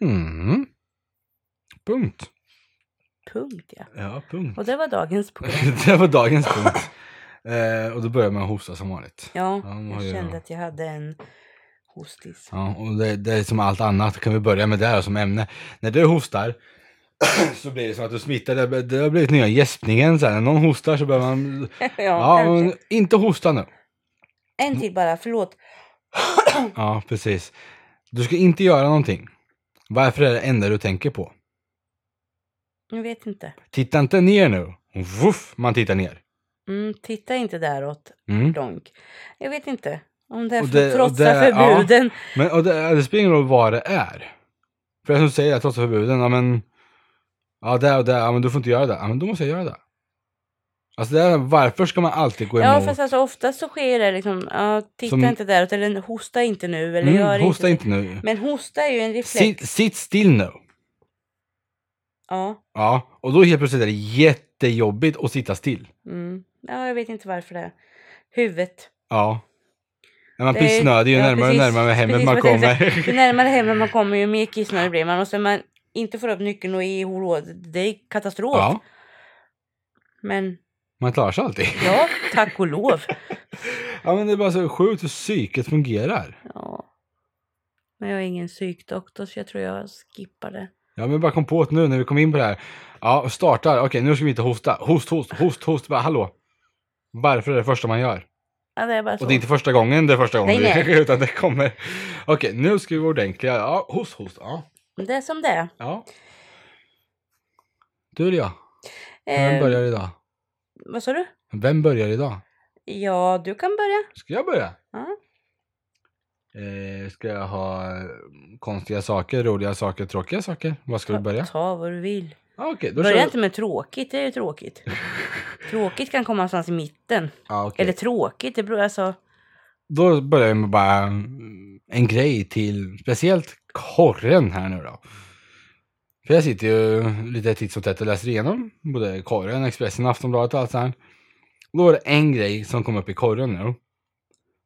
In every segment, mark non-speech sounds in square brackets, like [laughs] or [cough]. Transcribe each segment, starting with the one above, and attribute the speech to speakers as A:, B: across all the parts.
A: Mm. Punkt.
B: Punkt ja.
A: Ja, punkt.
B: Och det var dagens program.
A: [laughs] det var dagens punkt. Eh, och då börjar man hosta som vanligt.
B: Ja,
A: Ja, man har
B: jag
A: ju-
B: kände att jag hade en hostis.
A: Ja, och det, det är som allt annat, kan vi börja med det här som ämne. När du hostar [clears throat] så blir det som att du smittar, det, det har blivit nya gäspningen sen. När någon hostar så börjar man...
B: [laughs] ja,
A: Ja,
B: kanske.
A: men inte hosta nu.
B: En till bara, förlåt.
A: Ja, precis. Du ska inte göra någonting. Varför är det enda du tänker på?
B: Jag vet inte.
A: Titta inte ner nu. Vuff, man tittar ner.
B: Mm, titta inte däråt,
A: Mm.
B: donk. Jag vet inte om det är
A: Och
B: för
A: det-
B: att
A: och
B: trotsa
A: det- ja.
B: förbuden.
A: Men och det, det spelar ingen roll vad det är. För jag som säger att trots förbuden, ja men... Ja, det och det, ja men du får inte göra det. Ja, men då måste jag göra det. Alltså det är, varför ska man alltid gå
B: Ja,
A: emot?
B: fast alltså, oftast så sker det liksom, ja, titta
A: Som-
B: inte däråt eller hosta inte nu. Eller gör
A: mm, hosta
B: det.
A: inte nu.
B: Men hosta är ju en reflex.
A: Sitt, sitt still nu.
B: Ja,
A: Ja, och då helt plötsligt är det jättejobbigt att sitta still.
B: mm. ja, jag vet inte varför det är. Huvudet.
A: Ja. När man
B: Det är-
A: pissnödig ju
B: ja,
A: närmare och
B: precis.
A: närmare hemmet
B: Precis
A: man
B: vad jag tänkte [laughs]
A: kommer.
B: Ju närmare hemmet man kommer ju mer kissnödig blir man. Och sen man inte får upp nyckeln och i hålhålet. Det är katastrof.
A: Ja,
B: Men
A: man klarar sig alltid.
B: ja, tack och lov.
A: Ja men det är bara så sjukt hur psyket fungerar.
B: Ja. Men jag är ingen psykdoktor så jag tror jag skippar det.
A: Ja, men jag bara kom på att nu när vi kom in på det här. Ja, startar. Okej, nu ska vi inte hosta. Host, host, host, host. Bara, hallå. Varför är det första man gör?
B: Ja, det är bara så.
A: Och det är inte första gången det är första gången.
B: Nej, nej.
A: Utan det kommer. Okej, nu ska vi vara ordentliga. Ja, host, host. Ja.
B: det är som det är.
A: ja. Du eller jag? Vem
B: Eh,
A: börjar idag?
B: vad sa du?
A: Vem börjar idag?
B: Ja, du kan börja.
A: Ska jag börja?
B: Ja.
A: Eh, ska jag ha eh, konstiga saker, roliga saker, tråkiga saker? Vad ska vi börja?
B: Ta vad du vill.
A: Ah, Okej, då kör
B: Börja
A: vi.
B: inte med tråkigt, det är ju
A: [laughs]
B: tråkigt. tråkigt kan komma någonstans i mitten.
A: Ah, okej.
B: Eller tråkigt, det beror alltså...
A: Då börjar vi med bara mm, en grej till, speciellt korren här nu då. För jag sitter ju lite titt som tätt och läser igenom både korren, Expressen, Aftonbladet och allt sånt. Och då var det en grej som kom upp i korren nu.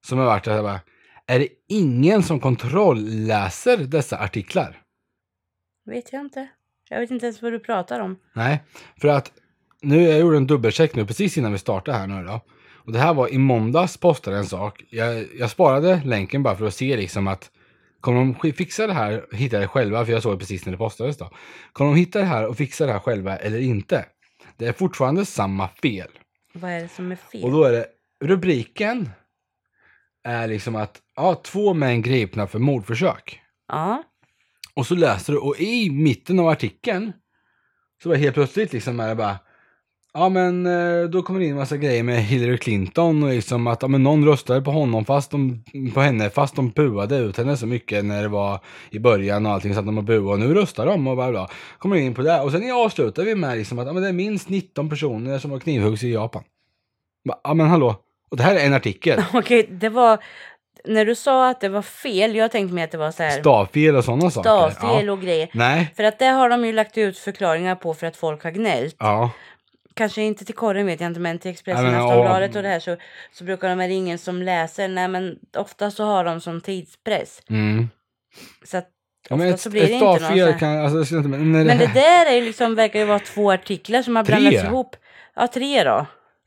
A: Som har varit att jag bara, är det ingen som kontrollläser dessa artiklar?
B: Vet jag inte. Jag vet inte ens vad du pratar om.
A: Nej, för att nu, jag gjorde en dubbelcheck nu precis innan vi startade här nu då. Och det här var i måndags postade en sak. Jag, jag sparade länken bara för att se liksom att kommer de sk- fixa det här, hitta det själva, för jag såg det precis när det postades då. Kommer de hitta det här och fixa det här själva eller inte? Det är fortfarande samma fel.
B: Vad är det som är fel?
A: Och då är det rubriken är liksom att ja, två män gripna för mordförsök.
B: Ja,
A: Och så läser du och i mitten av artikeln så var helt plötsligt liksom är det bara Ja men eh, då kommer det in en massa grejer med Hillary Clinton och liksom att ja, men någon röstade på honom fast de, på henne fast de buade ut henne så mycket när det var i början och allting så att de har buat och nu röstar de och bla bla. Kommer in på det och sen avslutar vi med liksom att ja, men det är minst 19 personer som har knivhuggits i Japan. Bara, Ja men hallå. Och det här är en artikel.
B: okej, det var... När du sa att det var fel, jag tänkte mig att det var så här...
A: Stavfel och sådana saker.
B: Stavfel
A: ja.
B: och grejer.
A: Nej.
B: För att det har de ju lagt ut förklaringar på för att folk har gnällt.
A: Ja.
B: Kanske inte till korren vet jag inte men till Expressen,
A: Nej, men,
B: Aftonbladet
A: ja.
B: och det här så, så brukar de, är det ingen som läser. Nej men ofta så har de som tidspress.
A: Mm.
B: Så att
A: Ja, men
B: Ofta
A: ett,
B: så blir
A: ett
B: det inte någon
A: stavfel
B: sån här-
A: kan, alltså, det skulle inte, men, när
B: Men
A: det
B: det
A: här-
B: där är ju liksom, verkar ju vara två artiklar som har
A: Tre.
B: blandats ihop. Ja, tre då.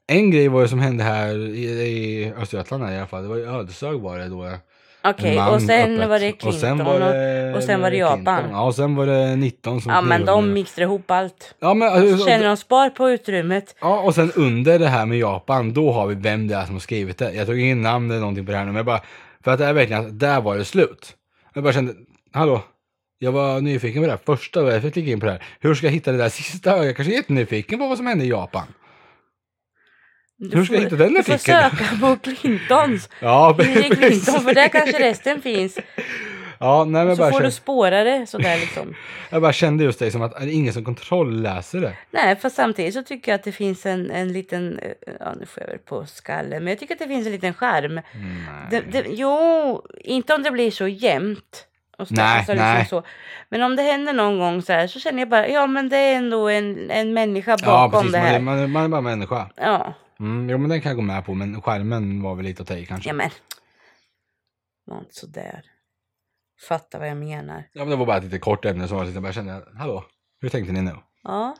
A: En grej var ju som hände här i, i Östergötland här, i alla fall, det var ju Ödeshög var det då. En
B: Okej,
A: man
B: och sen
A: öppet.
B: var det Clinton.
A: och sen var det,
B: och sen var det
A: Clinton.
B: Japan.
A: Ja, och sen var det 19 som
B: Ja, men de
A: knivhögg.
B: mixar ihop allt.
A: Ja, men, alltså,
B: Känner de spar på utrymmet?
A: ja, och sen under det här med Japan, då har vi vem det är som har skrivit det. Jag tog ingen namn eller någonting på det här nu, men jag bara, för att det är verkligen, att där var det slut. Jag bara kände, hallå? Jag var nyfiken på det här första och jag fick klicka in på det här. Hur ska jag hitta det där sista? Jag kanske är jättenyfiken på vad som hände i Japan.
B: Du
A: Hur ska jag hitta den
B: Du får
A: artikeln?
B: söka på Clintons.
A: [laughs] Ja,
B: Hillary Clinton,
A: precis.
B: för där kanske resten finns.
A: Ja, nej, men jag,
B: Så
A: bara
B: får du
A: kände,
B: spåra det sådär liksom.
A: jag bara kände just det som att är det ingen som kontrollläser det.
B: Nej, fast samtidigt så tycker jag att det finns en, en liten, eh, ja nu får jag väl på skallen, men jag tycker att det finns en liten skärm. Det, det, jo, inte om det blir så jämnt. Och så,
A: Nej,
B: alltså
A: nej.
B: Liksom så. Men om det händer någon gång så här så känner jag bara, ja men det är ändå en, en människa
A: ja,
B: bakom
A: precis.
B: det
A: Man,
B: här.
A: är- man, är- man är bara människa.
B: Ja,
A: Mm, jo, men den kan jag gå med på, men skärmen var väl lite att ta i kanske.
B: ja men. Var inte sådär. Fattar vad jag menar.
A: Ja, men det var bara ett lite kort ämne som var lite, bara kände, jag, hallå, hur tänkte ni nu?
B: Ja,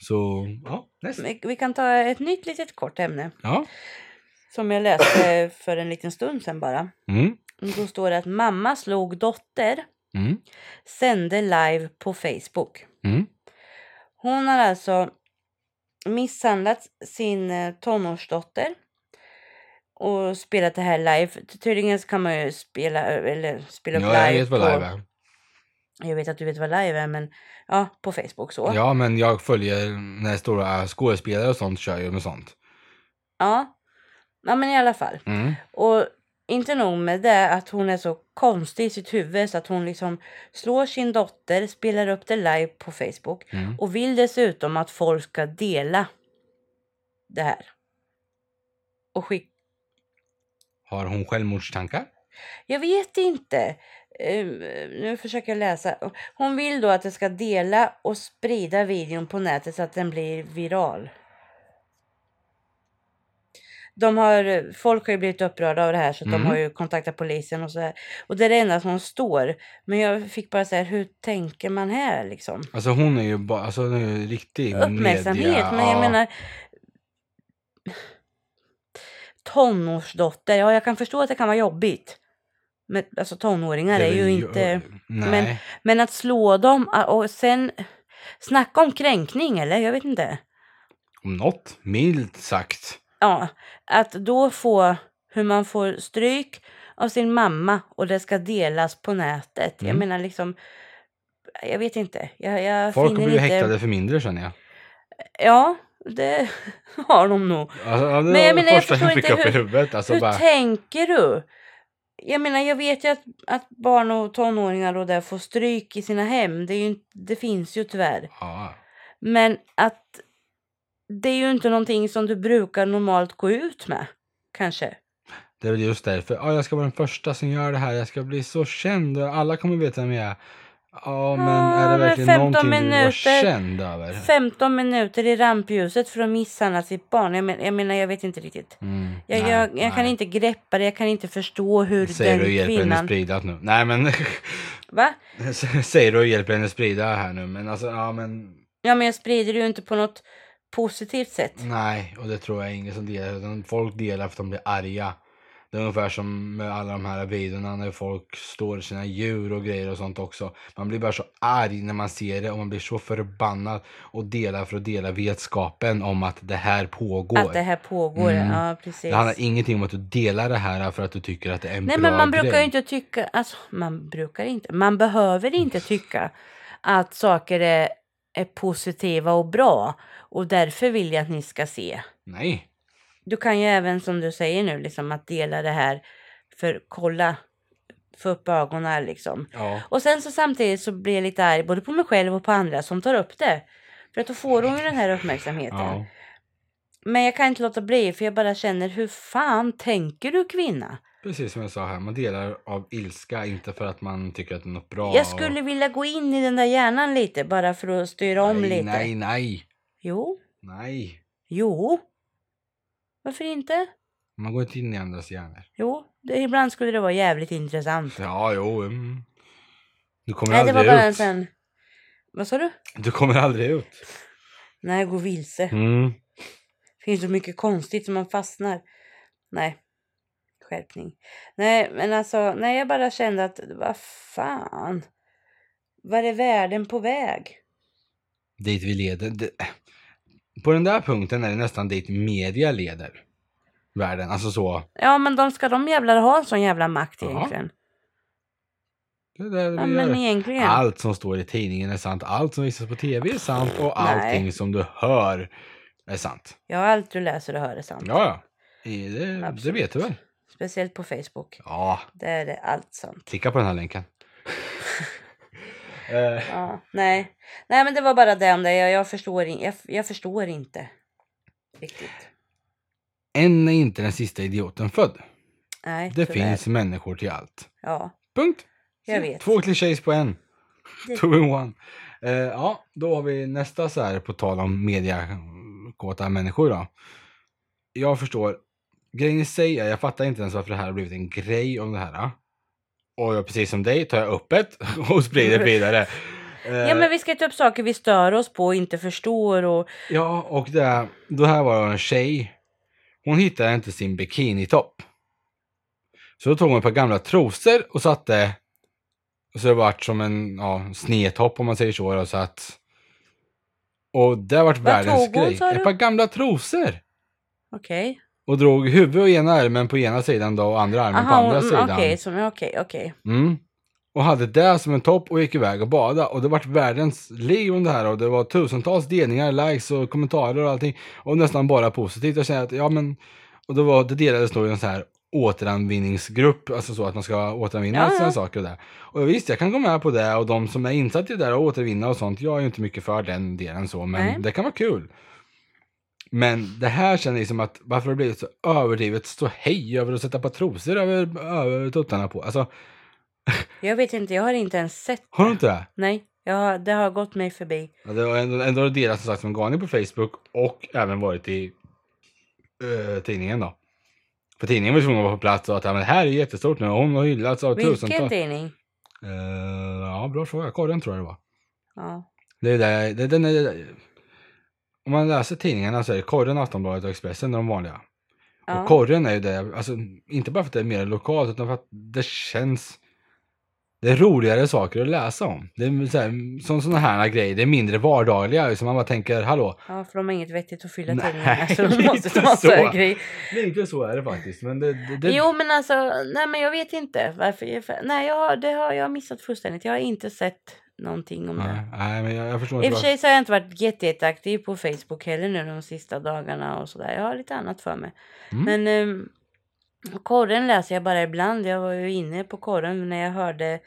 A: Så, ja, näst.
B: vi, vi kan ta ett nytt litet kort ämne.
A: Ja.
B: Som jag
A: [clears throat]
B: läste för en liten stund sedan bara.
A: Mm.
B: Då står det att mamma slog dotter,
A: Mm.
B: sände live på Facebook.
A: Mm.
B: Hon har alltså misshandlat sin eh, tonårsdotter och spelat det här live. Tydligen så kan man ju spela, ö- eller spela
A: Ja,
B: upp
A: jag
B: live.
A: vet vad
B: på,
A: live är.
B: Jag vet att du vet vad live är, men ja, på Facebook så.
A: Ja, men jag följer när stora skådespelare och sånt kör ju med sånt.
B: ja. Ja, men i alla fall.
A: Mm.
B: Och inte nog med det, att hon är så konstig i sitt huvud så att hon liksom slår sin dotter, spelar upp det live på Facebook
A: Mm.
B: och vill dessutom att folk ska dela det här. Och skicka
A: Har hon självmordstankar?
B: Jag vet inte. Eh, nu försöker jag läsa. Hon vill då att det ska dela och sprida videon på nätet så att den blir viral. De har, folk har ju blivit upprörda av det här så att
A: Mm.
B: de har ju kontaktat polisen och så här. Och det är det enda som står. Men jag fick bara säga, hur tänker man här liksom?
A: Alltså hon är ju bara, alltså hon är ju riktig
B: Uppmärksamhet,
A: media.
B: men jag
A: ja.
B: menar... Tonårsdotter, ja jag kan förstå att det kan vara jobbigt. Men alltså tonåringar är,
A: Det
B: ju
A: väl-
B: inte...
A: Nej.
B: men- Men att slå dem ah, och sen... Snacka om kränkning eller? Jag vet inte.
A: Om något, milt sagt.
B: Ja, att då få hur man får stryk av sin mamma och det ska delas på nätet. Jag
A: Mm.
B: menar liksom... Jag vet inte. Jag, jag
A: Folk
B: finner
A: blir ju
B: inte...
A: häktade för mindre känner jag.
B: Ja, det [laughs] har de nog.
A: Alltså, ja, det
B: Men jag
A: var
B: menar,
A: det
B: jag
A: första jag,
B: förstår
A: fick
B: inte
A: upp i
B: hur-
A: huvudet. Alltså,
B: Hur
A: bara,
B: tänker du? Jag menar, jag vet ju att, att barn och tonåringar och där får stryk i sina hem. Det, är ju, inte- det finns ju tyvärr.
A: ja.
B: Men att det är ju inte någonting som du brukar normalt gå ut med. Kanske.
A: Det är väl just därför. Ja, jag ska vara den första som gör det här. Jag ska bli så känd. Alla kommer veta vem jag är. Ja, men är det
B: men
A: verkligen
B: 15
A: någonting du vill vara
B: minuter.
A: känd över?
B: 15 minuter i rampljuset för att misshandla sitt barn. Jag, men, jag menar, jag vet inte riktigt.
A: Mm,
B: Jag,
A: nej,
B: jag, jag kan
A: nej.
B: inte greppa det, jag kan inte förstå hur
A: Säger du och
B: den
A: hjälper henne
B: kvinnan...
A: sprida nu. Nej, men... [laughs]
B: Va?
A: Säger du och hjälper henne sprida här nu. Men alltså, ja men...
B: Ja, men jag sprider det ju inte på något positivt sätt.
A: Nej, och det tror jag ingen som delar. Utan folk delar för att de blir arga. Det är ungefär som med alla de här videorna när folk står sina djur och grejer och sånt också. Man blir bara så arg när man ser det och man blir så förbannad och delar för att dela vetskapen om att det här pågår.
B: Att det här pågår,
A: Mm.
B: ja precis.
A: Det handlar ingenting om att du delar det här för att du tycker att det är en
B: Nej
A: bra
B: men man
A: grej.
B: brukar ju inte tycka, alltså man brukar inte, man behöver inte tycka att saker är, är positiva och bra och därför vill jag att ni ska se.
A: Nej.
B: Du kan ju även som du säger nu liksom att dela det här för kolla, få upp ögonen här, liksom.
A: Ja.
B: Och sen så samtidigt så blir jag lite arg både på mig själv och på andra som tar upp det. För att då får hon ju den här uppmärksamheten.
A: ja.
B: Men jag kan inte låta bli för jag bara känner hur fan tänker du kvinna?
A: Precis som jag sa här, man delar av ilska, inte för att man tycker att det är något bra.
B: Jag skulle vilja gå in i den där hjärnan lite bara för att styra om
A: nej,
B: lite.
A: Nej, nej,
B: Jo,
A: nej.
B: jo. Varför inte?
A: Man går inte in i andras hjärnor.
B: Jo, det, ibland skulle det vara jävligt intressant.
A: Ja, jo. Mm. Du kommer
B: Nej, det
A: aldrig
B: var bara en
A: ut.
B: sån... Vad sa du?
A: Du kommer aldrig ut.
B: Nej, jag går vilse.
A: Mm.
B: finns så mycket konstigt som man fastnar. Nej. Skärpning. Nej, men alltså, nej, jag bara kände att vad fan. Var är världen på väg?
A: Dit vi leder. Det... På den där punkten är det nästan dit media leder världen. Alltså så.
B: Ja, men de ska de jävlar ha en sån jävla makt
A: Ja.
B: egentligen?
A: Det är där vi
B: Ja,
A: gör.
B: men egentligen.
A: Allt som står i tidningen är sant. Allt som visas på tv är sant. Och allting
B: Nej.
A: som du hör är sant.
B: Ja, allt du läser och hör är sant.
A: Ja, ja. I- Det, det
B: Absolut.
A: vet du väl?
B: Speciellt på Facebook.
A: Ja,
B: Där är det allt sant.
A: klicka på den
B: [laughs]
A: här länken. eh,
B: Ja, nej. nej, men det var bara det om det. Jag, jag, förstår, in, jag, jag förstår inte riktigt.
A: än är inte den sista idioten född.
B: Nej,
A: Det
B: tyvärr.
A: finns människor till allt.
B: Ja,
A: Punkt.
B: Jag
A: Så,
B: vet.
A: Två klyschor på en.
B: Det-
A: Two in one. Eh, ja, då har vi nästa så här på tal om mediakåta människor då. Jag förstår. Grejen i sig är, jag fattar inte ens varför det här har blivit en grej om det här. och jag, precis som dig tar jag upp ett [laughs] och sprider vidare. Eh,
B: Ja men vi ska ta upp saker vi stör oss på och inte förstår och
A: ja, och det, då här var det en tjej. Hon hittade inte sin bikinitopp. Så då tog hon ett par gamla trosor och satte, och så det vart som en ja, snedtopp om man säger så. Och, så att, och det vart världens
B: tog hon,
A: grej.
B: sa du?
A: Ett par gamla trosor!
B: okej.
A: Och drog huvud och ena armen på ena sidan då och andra armen på
B: Aha,
A: andra
B: mm,
A: sidan.
B: okej, som är okej, okej.
A: Mm. Och hade det som en topp och gick iväg och bada och det vart världens liv om det här och det var tusentals delningar, likes och kommentarer och allting och nästan bara positivt. Jag känner att, ja men, och då var, det delades då i en sån här återanvinningsgrupp, alltså så att man ska återanvinna
B: Ja,
A: ja, sådana
B: ja.
A: saker och det. Och visst, jag kan gå med på det och de som är insatta i det där och återvinna och sånt, jag är ju inte mycket för den delen så, men
B: Nej.
A: det kan vara kul. Men det här känner jag som att varför har det blivit så överdrivet så hej över att sätta på trosor över, över tuttarna på. Alltså,
B: Jag vet inte, jag har inte ens sett.
A: har du inte det?
B: Nej, jag har, det har gått mig förbi.
A: Ja, det har ändå, ändå delats som sagt som galning på Facebook och även varit i eh, tidningen då. För tidningen var ju tvungen att vara på plats och att ja, men det här är jättestort nu och hon har hyllats av
B: Vilken
A: tusentals.
B: tidning?
A: Eh, ja, bra fråga. Korren tror jag det var.
B: Ja.
A: Det är där, det, den är, om man läser tidningarna så är det Korren, Aftonbladet och Expressen de vanliga. Och
B: ja.
A: korren är ju det, alltså inte bara för att det är mer lokalt utan för att det känns det är roligare saker att läsa om. Det är så här, som sådana här grejer, det är mindre vardagliga. Liksom man bara tänker, hallå.
B: ja, för de har inget vettigt att fylla
A: Nej,
B: tidningarna
A: [laughs]
B: så de måste
A: lite
B: ta
A: så.
B: sökgrej.
A: Lite så är det faktiskt. Men det, det, det,
B: Jo men alltså, nej men jag vet inte varför. Jag, för- nej, jag, har- det har jag missat fullständigt. Jag har inte sett någonting om
A: nej,
B: det.
A: nej, men jag, jag förstår
B: I
A: inte.
B: och för
A: varför-
B: sig så har jag inte varit jätte- jätteaktiv på Facebook heller nu de sista dagarna och sådär. Jag har lite annat för mig.
A: Mm.
B: Men um, korren läser jag bara ibland. Jag var ju inne på korren när jag hörde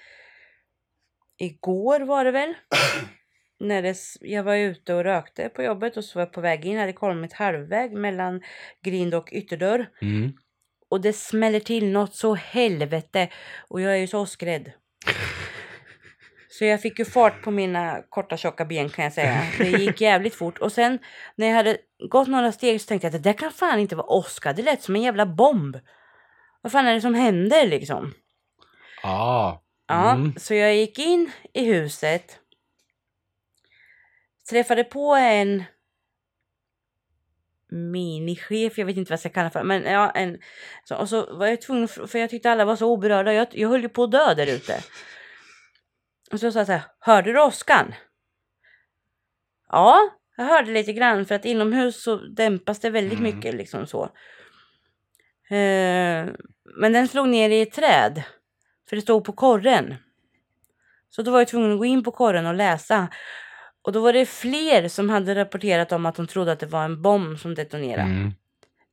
B: igår var det
A: [coughs]
B: väl. när det, s- jag var ute och rökte på jobbet och så var jag på väg in. Jag hade kommit halvväg mellan grind och ytterdörr.
A: Mm.
B: Och det smäller till något så helvete. Och jag är ju så skrädd. Så jag fick ju fart på mina korta tjocka ben kan jag säga. Det gick jävligt fort. Och sen när jag hade gått några steg så tänkte jag att det där kan fan inte vara åska. Det lät som en jävla bomb. Vad fan är det som händer liksom?
A: Ja.
B: Ja,
A: Mm.
B: så jag gick in i huset. Träffade på en minichef, jag vet inte vad jag ska kalla det för. Men ja, en, så, och så var jag tvungen, för jag tyckte alla var så oberörda. Jag, jag höll ju på att dö där ute. Och så sa jag så här, hörde du åskan? Ja, jag hörde lite grann för att inomhus så dämpas det väldigt
A: Mm.
B: mycket liksom så. Eh, men den slog ner i ett träd. För det stod på korren. Så då var jag tvungen att gå in på korren och läsa. Och då var det fler som hade rapporterat om att de trodde att det var en bomb som detonerade.
A: Mm.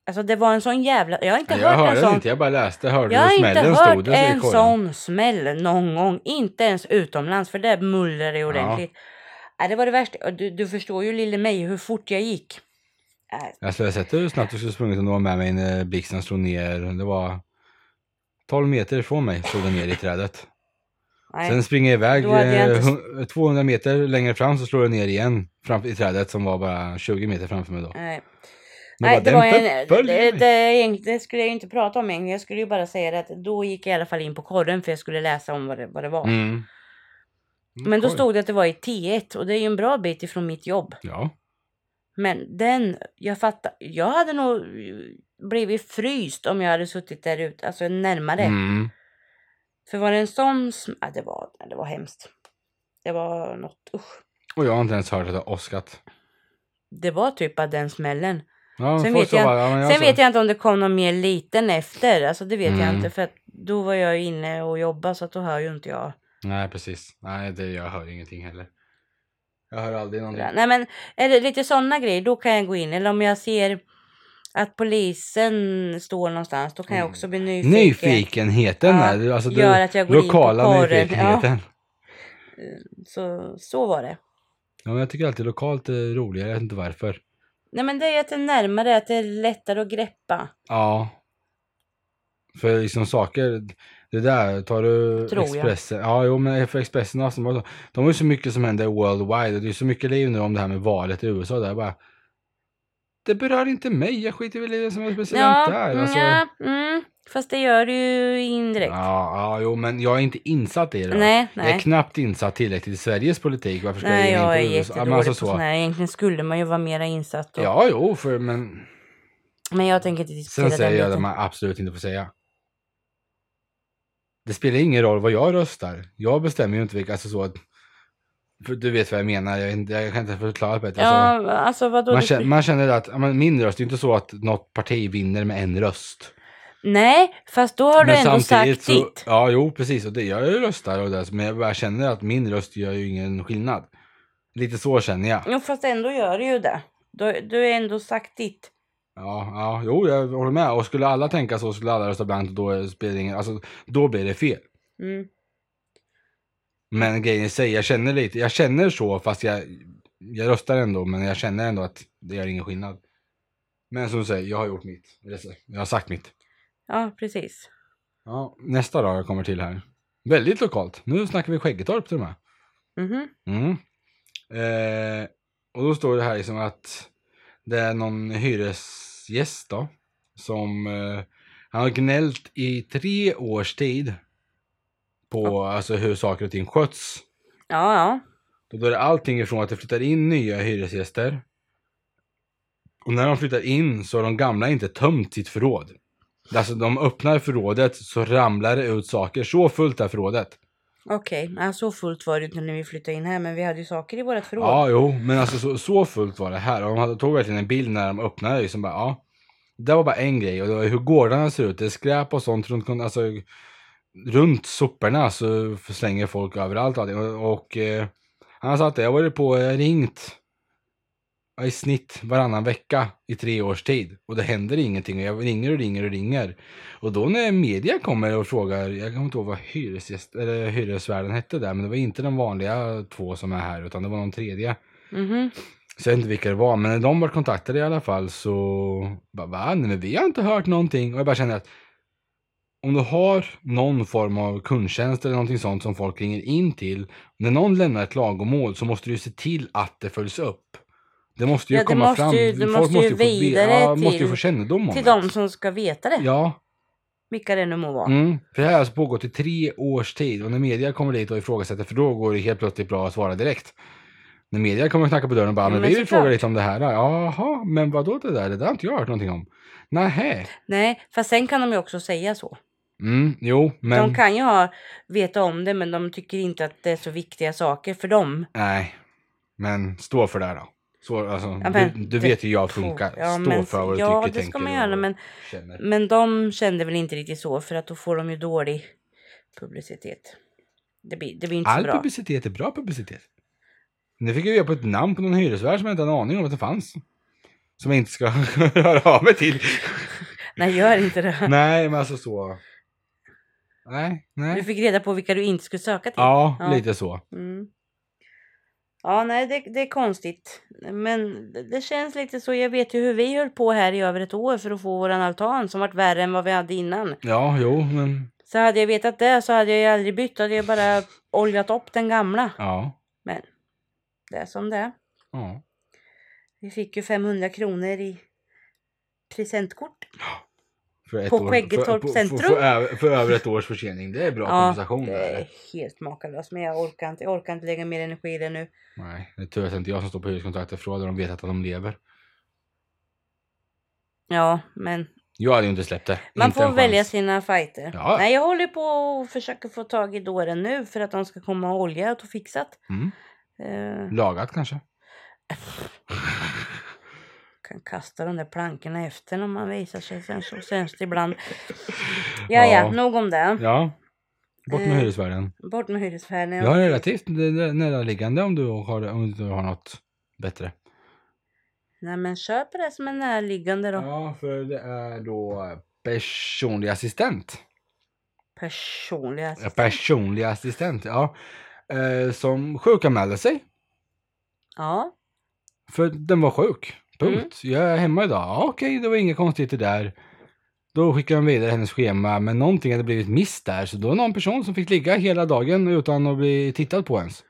B: Alltså det var en sån jävla... Jag har inte
A: Jag
B: hört en
A: hörde
B: sån...
A: inte, jag bara läste. Hörde
B: Jag har
A: hur
B: inte
A: smällen stod.
B: hört
A: det, så i
B: en
A: korren.
B: sån smäll någon gång. Inte ens utomlands för där mullrar det ordentligt. Nej, det var det värsta. Och Du, du förstår ju lille mig hur fort jag gick. Nej,
A: Alltså, Jag skulle ha sett hur snabbt du skulle ha sprungit om du var med mig när blixten slog ner. Det var 12 meter ifrån mig slog den ner i trädet.
B: nej.
A: Sen springer jag iväg
B: Då hade jag
A: eh,
B: inte-
A: hun- 200 meter längre fram så slår jag ner igen fram i trädet som var bara 20 meter framför mig då.
B: Nej.
A: Men
B: Nej,
A: bara,
B: det,
A: den
B: var en, det,
A: förföljer mig.
B: det, det, det skulle jag ju inte prata om egentligen. Jag skulle ju bara säga det att då gick jag i alla fall in på korren för jag skulle läsa om vad det, vad det var.
A: Mm.
B: Men då
A: Oj.
B: stod det att det var i T1 och det är ju en bra bit ifrån mitt jobb.
A: Ja.
B: Men den, jag fattar. Jag hade nog blivit fryst om jag hade suttit där ute, alltså närmare.
A: Mm.
B: För var det en sån sm- ja, det, var, ja, det var hemskt. Det var något, usch.
A: Och jag har inte ens hört att det har åskat.
B: Det var typ bara den smällen.
A: Ja,
B: Sen
A: folk
B: vet
A: sa
B: jag-
A: bara, ja, men
B: Sen
A: sa-
B: vet jag inte om det kom någon mer liten efter. Alltså det vet jag
A: Mm.
B: inte. För att då var jag inne och jobbade så att då hör ju inte jag.
A: Nej, precis. Nej, det, jag hör ingenting heller. Jag hör aldrig någonting.
B: Nej men är det lite sådana grejer då kan jag gå in. Eller om jag ser att polisen står någonstans då
A: Mm.
B: kan jag också bli nyfiken.
A: Nyfikenheten
B: Ja,
A: är det, alltså
B: gör
A: den
B: att jag går in
A: lokala
B: på korren. Ja,
A: nyfikenheten.
B: så, så var det.
A: Ja, men jag tycker alltid lokalt är roligare, jag vet inte varför.
B: Nej men det är att det är närmare, att det är lättare att greppa.
A: Ja. För liksom saker, det där, tar du
B: Tror jag.
A: Expressen, ja jo men för Expressen och Aftonbladet, de har ju så mycket som händer worldwide och det är så mycket liv nu om det här med valet i USA där bara. Det berör inte mig, jag skiter väl i vem som är president där. Alltså,
B: mm, ja, mm, Fast det gör du ju indirekt.
A: Ja, ja, jo, men jag är inte insatt i det.
B: nej, nej.
A: Jag är knabbt insatt tillräckligt i Sveriges politik. Varför ska
B: Nej, jag
A: jag
B: är
A: ge mig in på USA? Ja, men
B: jättedålig
A: alltså
B: på
A: så.
B: sån här. Egentligen skulle man ju vara mer insatt. Och,
A: Ja, jo, för, men
B: Men jag tänker inte diskutera
A: sen säger jag det
B: biten.
A: man absolut inte får säga. Det spelar ingen roll vad jag röstar. Jag bestämmer ju inte vilka, alltså så att, för du vet vad jag menar, jag, är inte- jag kan inte förklara bättre. Alltså,
B: Ja, alltså vadå?
A: man,
B: det
A: känner,
B: spe-
A: man känner att ja, men min röst, det är inte så att något parti vinner med en röst.
B: Nej, fast då har du ändå
A: samtidigt
B: sagt
A: så-
B: ditt.
A: Ja, jo, precis. Och det, jag röstar och det, men jag bara känner att min röst gör ju ingen skillnad. Lite så känner jag.
B: Jo, fast ändå gör du ju det. Du, du har ändå sagt ditt.
A: Ja, ja, jo, jag håller med. Och skulle alla tänka så skulle alla rösta blankt och då spelar det ingen, alltså, då blir det fel.
B: Mm.
A: Men grejen i sig, jag känner lite, jag känner så fast jag, jag röstar ändå, men jag känner ändå att det gör ingen skillnad. Men som du säger, jag har gjort mitt. Eller så, Jag har sagt mitt.
B: Ja, precis.
A: Ja, nästa dag jag kommer till här. Väldigt lokalt. Nu snackar vi Skäggetorp till och med.
B: Mhm.
A: Mm. Eh, och då står det här liksom att det är någon hyresgäst då som eh, han har gnällt i tre års tid på alltså hur saker och ting sköts.
B: Ja, ja.
A: Och då är det allting ifrån att det flyttar in nya hyresgäster och när de flyttar in så har de gamla inte tömt sitt förråd. Alltså de öppnar förrådet så ramlar det ut saker så fullt är förrådet.
B: Okej, ja, så fullt var det inte när vi flyttade in här, men vi hade ju saker i vårt förråd.
A: Ja, jo, men alltså så, så fullt var det här. Och de hade, tog verkligen en bild när de öppnade liksom bara, ja. Det var bara en grej och det var hur gårdarna ser ut. Det är skräp och sånt runt, alltså, runt soporna så slänger folk överallt och, allting. och, och eh, han sa att jag har varit på eh, ringt ja, i snitt varannan vecka i tre års tid och det händer ingenting och jag ringer och ringer och ringer. Och då när media kommer och frågar, jag kommer inte ihåg vad hyresgäst, eller hyresvärden hette där, men det var inte de vanliga två som är här utan det var någon tredje.
B: Mhm.
A: Så jag vet inte vilka det var, men när de var kontaktade i alla fall så bara, va? Nej, men vi har inte hört någonting. Och jag bara känner att om du har någon form av kundtjänst eller någonting sånt som folk ringer in till, när någon lämnar ett klagomål så måste du ju se till att det följs upp. Det måste ju
B: Ja, det
A: komma
B: måste
A: fram.
B: ju- det
A: Folk
B: måste ju
A: få ve-
B: vidare
A: ja, måste ju
B: till-
A: få kännedom om
B: Till
A: det.
B: de som ska veta det,
A: Ja,
B: vilka det nu må vara.
A: Mm, för det här har alltså pågått i tre års tid och när media kommer dit och ifrågasätter för då går det helt plötsligt bra att svara direkt. När media kommer och knackar på dörren och bara
B: Ja,
A: men,
B: men
A: vi vill
B: såklart.
A: fråga lite om det här. Jaha, men vadå det där? Det där har inte jag hört någonting om. Nähä.
B: Nej, fast sen kan de ju också säga så.
A: Mm, jo, men
B: De kan ju ha, veta om det, men de tycker inte att det är så viktiga saker för dem.
A: nej. Men stå för det här då. Så, alltså,
B: Ja,
A: du,
B: men
A: du
B: det-
A: vet ju hur jag funkar.
B: Ja,
A: stå
B: men-
A: för vad du
B: ja,
A: tycker,
B: det
A: tänker
B: ska man göra,
A: och
B: men-
A: känner.
B: Men de kände väl inte riktigt så för att då får de ju dålig publicitet. Det blir, det blir inte så
A: All
B: bra.
A: publicitet är bra publicitet. Nu fick jag reda på ett namn på någon hyresvärd som jag inte hade en aning om att det fanns. Som jag inte ska [laughs] höra av mig till.
B: Nej, gör inte det.
A: Nej, men alltså så. Nej,
B: Du
A: nej.
B: fick reda på vilka du inte skulle söka till.
A: Ja,
B: Ja.
A: lite så.
B: Mm. Ja, nej, det, det är konstigt. Men det- det känns lite så. Jag vet ju hur vi höll på här i över ett år för att få våran altan som vart värre än vad vi hade innan.
A: Ja, jo, men
B: Så hade jag vetat det så hade jag ju aldrig bytt. Då hade jag bara oljat upp den gamla.
A: ja.
B: Det är som det är.
A: ja.
B: Vi fick ju 500 kronor i presentkort.
A: För ett
B: På
A: år-
B: Skäggetorp
A: för- på-
B: centrum.
A: För, för, över, för över ett års försening. Det är bra kompensation.
B: det är
A: Där.
B: helt makalöst. Men jag orkar inte, jag orkar inte lägga mer energi i det nu.
A: Nej, det är tur att det inte är jag som står på hyreskontraktet för då hade de vetat att de lever.
B: Ja, men
A: Jag hade ju inte släppt det.
B: man
A: inte
B: får
A: en
B: välja
A: chans.
B: sina fighter.
A: Ja.
B: Nej, jag håller på och försöker få tag i dåren nu för att de ska komma och olja och fixat.
A: Mm.
B: Eh,
A: Lagat kanske.
B: kan kasta de där plankorna efter när man visar sig sen så sämst
A: [laughs]
B: ibland. Ja, ja, nog om det.
A: Ja. Bort med
B: Eh,
A: hyresvärden.
B: Bort med hyresvärden.
A: Jag har relativt n- n- näraliggande om du har, om du har något bättre.
B: Nej, men köp det som är närliggande då.
A: Ja, för det är då personlig assistent.
B: Personlig
A: Ja,
B: assistent.
A: personlig assistent, ja. Eh, som sjukanmälde sig.
B: Ja,
A: För den var sjuk.
B: Mm.
A: Punkt. Jag är hemma idag. Ja, okej, det var inga konstigheter där. Då skickade de vidare hennes schema, men någonting hade blivit miss där. Så då var någon person som fick ligga hela dagen utan att bli tittad på ens.
B: fy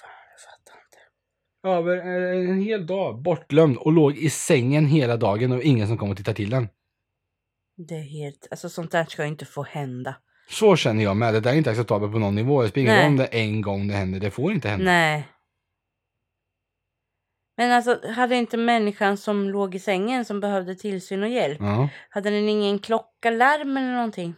B: fan, jag fattar inte.
A: Över en, en hel dag, bortglömd och låg i sängen hela dagen och ingen som kom och tittade till den.
B: Det är helt... Alltså sånt där ska ju inte få hända.
A: Så känner jag med. Det där är inte acceptabelt på någon nivå. Det spelar ingen roll
B: Nej.
A: om det en gång det händer. Det får inte hända.
B: Nej. Men alltså, hade inte människan som låg i sängen som behövde tillsyn och hjälp,
A: Ja.
B: hade den ingen klocka, larm eller någonting?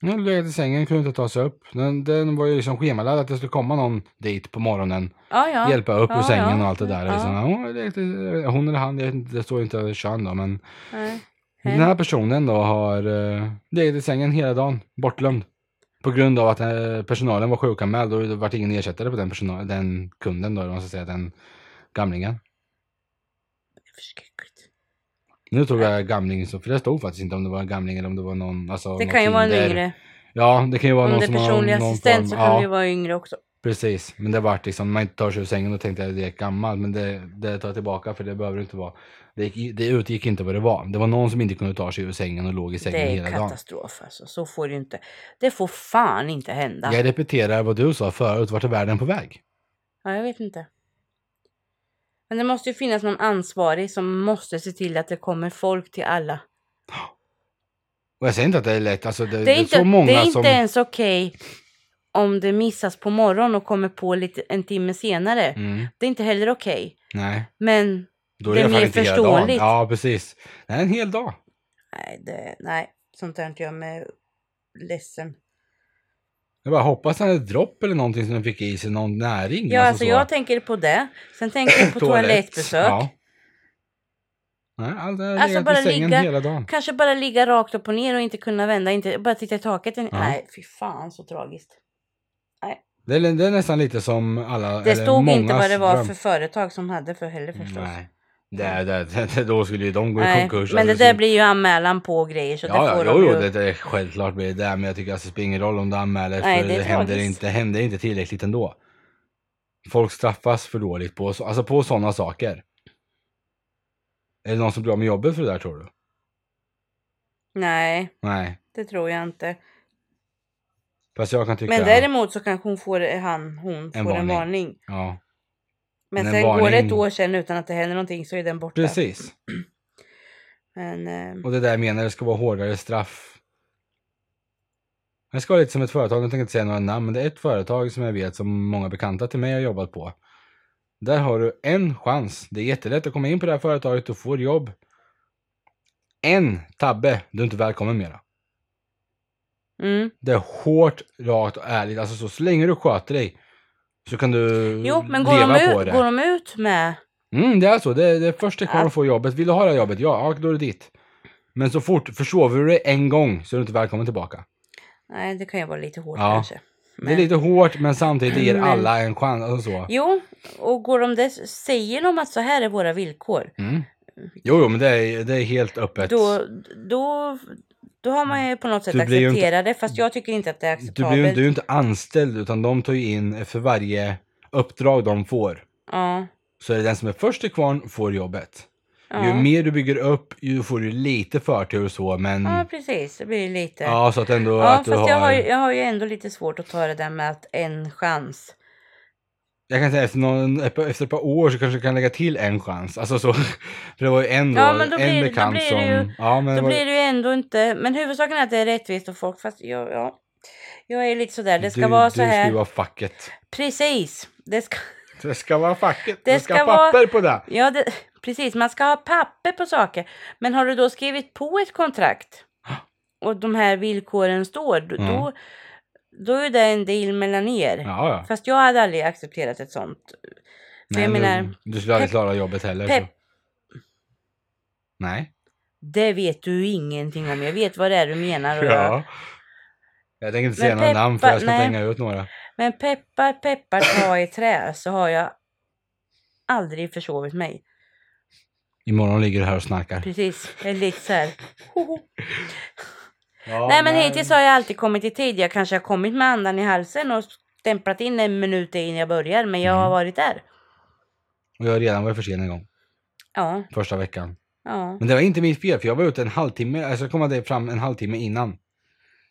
A: Den legat i sängen, kunde inte ta sig upp. Den, den var ju liksom schemalagd att det skulle komma någon dit på morgonen.
B: Ja, ja.
A: Hjälpa upp ur
B: Ja,
A: sängen
B: ja.
A: och allt det där.
B: Ja.
A: Liksom. Ja, hon, lekte- hon eller han, jag vet inte, det står ju inte kön då. Men
B: Nej.
A: den här personen då har uh, legat i sängen hela dagen, bortglömd. På grund av att eh, personalen var sjukanmäld och det var ingen ersättare på den, personal, den kunden då, eller vad man ska säga, den gamlingen.
B: Förskräckligt.
A: Nu tog jag gamling, så- för det stod faktiskt inte om det var en gamling eller om det var någon... Alltså,
B: Det
A: någon
B: kan ju vara en
A: Tinder.
B: yngre.
A: Ja, det kan ju vara
B: Om
A: någon
B: det är
A: som har
B: personlig
A: någon
B: assistent
A: form.
B: så
A: ja.
B: kan det ju vara yngre också.
A: Precis, men det vart liksom, man inte tar sig ur sängen och tänkte att det är gammal, men det, det tar jag tillbaka för det behöver det inte vara. Det, gick, det utgick inte vad det var. Det var någon som inte kunde ta sig ur sängen och låg i sängen
B: Det är
A: hela dagen.
B: katastrof alltså. Så får det ju inte. Det får fan inte hända.
A: Jag repeterar vad du sa förut, vart är världen på väg?
B: Ja, jag vet inte. Men det måste ju finnas någon ansvarig som måste se till att det kommer folk till alla.
A: Och jag säger inte att det är lätt, alltså det,
B: Det är,
A: det är
B: inte,
A: så många
B: det är inte
A: som...
B: ens okej om det missas på morgonen och kommer på lite, en timme senare.
A: Mm,
B: Det är inte heller okej.
A: nej,
B: Men
A: då är
B: Det är
A: det, i alla fall
B: mer
A: inte hela dagen.
B: förståeligt.
A: Ja, precis. Det är en hel dag.
B: nej, det, nej sånt där inte jag med ledsen.
A: Jag bara hoppas att det är ett dropp eller någonting som de fick i sig, någon näring.
B: Ja, alltså
A: så.
B: jag tänker på det. Sen tänker jag på
A: [clears throat] Toalett.
B: toalettbesök.
A: Ja. Nej, allt det här
B: Alltså,
A: legat
B: bara
A: i sängen
B: ligga-
A: hela dagen.
B: Kanske bara ligga rakt upp och ner och inte kunna vända, inte, bara titta i taket. Nej, fy fan så tragiskt.
A: Det är, det är nästan lite som alla...
B: Det
A: eller
B: stod inte
A: mångas
B: vad det var
A: dröm.
B: för företag som hade för heller förstås.
A: Nej. Det, det, det, det, då skulle ju de gå i
B: Nej,
A: konkurs.
B: men det
A: alltså,
B: där
A: så-
B: blir ju anmälan på och grejer så
A: Ja,
B: det
A: ja,
B: får
A: jo,
B: de
A: jo,
B: ju.
A: det, det, är självklart blir det där, men jag tycker alltså det spelar ingen roll om du anmäler,
B: Nej,
A: för
B: det är
A: det händer,
B: tragiskt.
A: inte, händer inte tillräckligt ändå. Folk straffas för dåligt på, så- alltså på sådana saker. Är det någon som blir av med jobbet för det där tror du?
B: Nej,
A: Nej.
B: det tror jag inte.
A: Fast jag kan tycka...
B: Men däremot så kanske hon får, han, hon får en
A: varning.
B: varning.
A: Ja,
B: Men
A: Men en
B: sen går det ett
A: varning-
B: år sen utan att det händer någonting så är den borta.
A: precis.
B: Men eh,
A: Och det där jag menar, det ska vara hårdare straff. Det ska vara lite som ett företag, jag tänker inte säga några namn, men det är ett företag som jag vet som många bekanta till mig har jobbat på. Där har du en chans. Det är jättelätt att komma in på det här företaget och få jobb. En tabbe, du är inte välkommen mera.
B: mm.
A: Det är hårt, rakt och ärligt. Alltså så, så länge du sköter dig så kan du
B: Jo, men går
A: Mm, leva
B: de,
A: på
B: ut,
A: det.
B: går de ut med...
A: Mm, det är så. Det är, det är första kvar
B: Ja.
A: att få jobbet. Vill du ha det här jobbet? Ja, ja, då är det ditt. Men så fort försover du dig en gång så är du inte välkommen tillbaka.
B: Nej, det kan ju vara lite hårt
A: Ja.
B: kanske.
A: Det är
B: Men-
A: lite hårt men samtidigt
B: [clears throat]
A: ger
B: Men-
A: alla en chans. Alltså så.
B: Jo, och går de dess, säger de att så här är våra villkor,
A: Mm. Jo, jo, men det är, det är helt öppet.
B: då, då, då har man ju på något sätt
A: Mm. Du blir ju
B: accepterat
A: inte-
B: det. Fast jag tycker inte att det är
A: du blir ju
B: acceptabelt.
A: du är ju inte anställd utan de tar ju in efter varje uppdrag de får.
B: Ja,
A: Så är det den som är först i kvarn får jobbet.
B: ja.
A: Ju mer du bygger upp ju får du lite förtur och så men...
B: ja,
A: Ja,
B: precis. Det blir ju lite...
A: så att ändå
B: Ja,
A: att
B: fast
A: du har...
B: Jag,
A: Jag,
B: har ju, jag har ju ändå lite svårt att ta det där med att en chans.
A: kan säga efter, någon, efter ett par år så kanske du kan lägga till en chans. Alltså så... [laughs] För det var ju en då,
B: Ja, men då
A: en
B: blir- då
A: bekant
B: blir
A: som...
B: det ju-
A: ja, men det
B: Då
A: var-
B: blir det ju ändå inte... Men huvudsaken är att det är rättvist och folk... Fast jag, ja, jag är lite sådär, det ska
A: du,
B: vara
A: du
B: så här.
A: Du ska vara facket.
B: Precis! Det ska...
A: Det ska vara facket.
B: Det
A: Det ska,
B: ska
A: ska
B: vara-
A: papper på det.
B: Ja, det, precis. Man ska ha papper på saker. Men har du då skrivit på ett
A: [gasps]
B: kontrakt och de här villkoren står, då,
A: Mm.
B: då, då är det en deal mellan er.
A: Ja, ja.
B: Fast jag hade aldrig accepterat ett sånt. För jag
A: men
B: menar,
A: du, du skulle aldrig
B: pepp-
A: klara jobbet heller.
B: pepp.
A: Så. Nej.
B: det vet du ju ingenting om. Jag vet vad det är du menar. och jag-
A: [laughs] Ja. Jag tänker inte säga
B: Men
A: några namn för
B: peppa-
A: jag ska
B: nej.
A: inte hänga ut några.
B: Men peppar, peppar, ta i trä så har jag aldrig försovit mig.
A: Imorgon ligger du här och snarkar.
B: Precis, jag är lite så här.
A: [laughs]
B: hoho.
A: Ja,
B: Nej men hittills har jag alltid kommit i tid. Jag kanske har kommit med andan i halsen och stämplat in en minut innan jag börjar. Men jag har
A: Mm.
B: varit där.
A: Och jag har redan varit för sen en gång.
B: Ja,
A: Första veckan.
B: ja,
A: Men det var inte mitt fel för jag var ute en halvtimme, alltså jag kom aldrig fram en halvtimme innan.